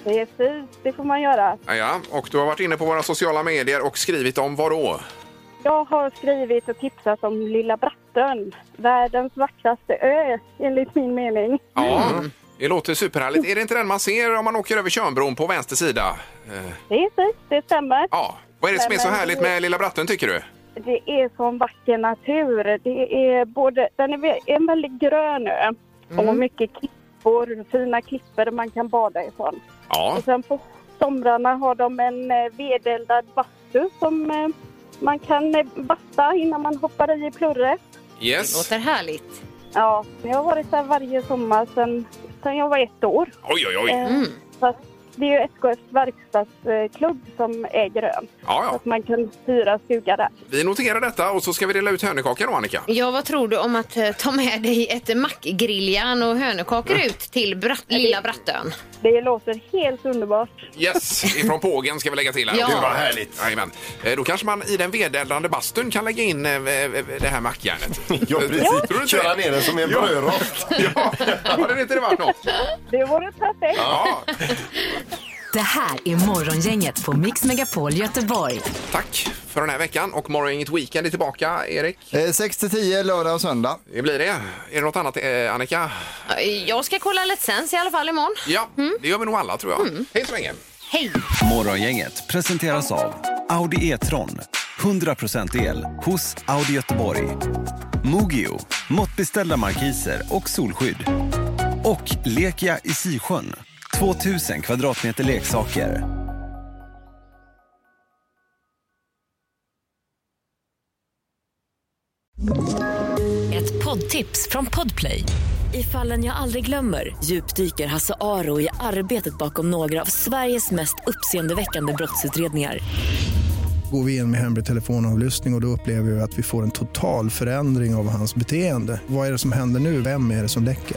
[SPEAKER 11] Precis, det får man göra.
[SPEAKER 4] Ja, Ja, och du har varit inne på våra sociala medier och skrivit om vad då?
[SPEAKER 11] Jag har skrivit och tipsat om Lilla Brattön. Världens vackraste ö, enligt min mening.
[SPEAKER 4] Ja,
[SPEAKER 11] Mm.
[SPEAKER 4] det låter superhärligt. Är det inte den man ser om man åker över Tjörnbron på vänster sida? Eh,
[SPEAKER 11] Precis, det stämmer.
[SPEAKER 4] Ja, vad är det som är så
[SPEAKER 11] Nej, men eh,
[SPEAKER 4] härligt
[SPEAKER 11] det-
[SPEAKER 4] med Lilla Bratten tycker du?
[SPEAKER 11] Det är sån vacker natur. Det är både, den är vä- en väldigt grön ö och
[SPEAKER 4] Mm.
[SPEAKER 11] mycket klippor, fina klippor där man kan bada ifrån.
[SPEAKER 4] Ja,
[SPEAKER 11] Och sen på somrarna har de en eh, vedeldad bastu som eh, man kan eh, basta innan man hoppar i i plurret.
[SPEAKER 7] Det
[SPEAKER 4] yes.
[SPEAKER 7] låter härligt.
[SPEAKER 11] Ja, jag har varit där varje sommar sedan, sedan jag var ett år.
[SPEAKER 4] Oj, oj, oj.
[SPEAKER 11] Eh,
[SPEAKER 7] Mm.
[SPEAKER 11] Så att det är ju SKFs verkstadsklubb som äger ön. Så
[SPEAKER 4] Ja, ja.
[SPEAKER 11] att man kan hyra stuga där.
[SPEAKER 4] Vi noterar detta och så ska vi dela ut hönökaka då, Annika.
[SPEAKER 7] Ja, vad tror du om att eh, ta med dig ett mackgriljan och hönökakor ut till Bratt- lilla Brattön?
[SPEAKER 11] Det låter helt underbart.
[SPEAKER 4] Yes, ifrån pågen ska vi lägga till här.
[SPEAKER 7] Ja. Gud, vad
[SPEAKER 4] härligt. Jajamän. Eh, Då kanske man i den vedeldande bastun kan lägga in eh, eh, det här mackjärnet.
[SPEAKER 6] (laughs)
[SPEAKER 4] Eh,
[SPEAKER 6] Ja,
[SPEAKER 4] Tror du
[SPEAKER 6] precis.
[SPEAKER 4] inte
[SPEAKER 6] Köra
[SPEAKER 4] det?
[SPEAKER 6] ner den som en brödrost.
[SPEAKER 4] Ja, hade inte det varit något?
[SPEAKER 11] Det vore perfekt.
[SPEAKER 4] Ja,
[SPEAKER 3] Det här är Morgongänget på Mix Megapol Göteborg.
[SPEAKER 4] tack för den här veckan och morgon inget weekend är tillbaka, Erik.
[SPEAKER 5] Eh, 6 till 10 lördag och söndag.
[SPEAKER 4] Det blir det. Är det något annat, eh,
[SPEAKER 11] Mm.
[SPEAKER 4] Annika?
[SPEAKER 7] Jag ska kolla Let's Dance i alla fall imorgon.
[SPEAKER 4] Ja, det gör vi nog alla tror jag.
[SPEAKER 11] Mm.
[SPEAKER 4] Hej så länge!
[SPEAKER 7] Hej!
[SPEAKER 10] Morgongänget presenteras av Audi E-tron. 100% el hos Audi Göteborg. Mogio, måttbeställda markiser och solskydd. Och Lekia i Sisjön, 2000 kvadratmeter leksaker.
[SPEAKER 12] Ett poddtips från Podplay. I fallen jag aldrig glömmer djupdyker Hasse Aro i arbetet bakom några av Sveriges mest uppseendeväckande brottsutredningar.
[SPEAKER 13] Går vi in med hemlig telefonavlyssning och, och då upplever vi att vi får en total förändring av hans beteende. Vad är det som händer nu? Vem är det som läcker?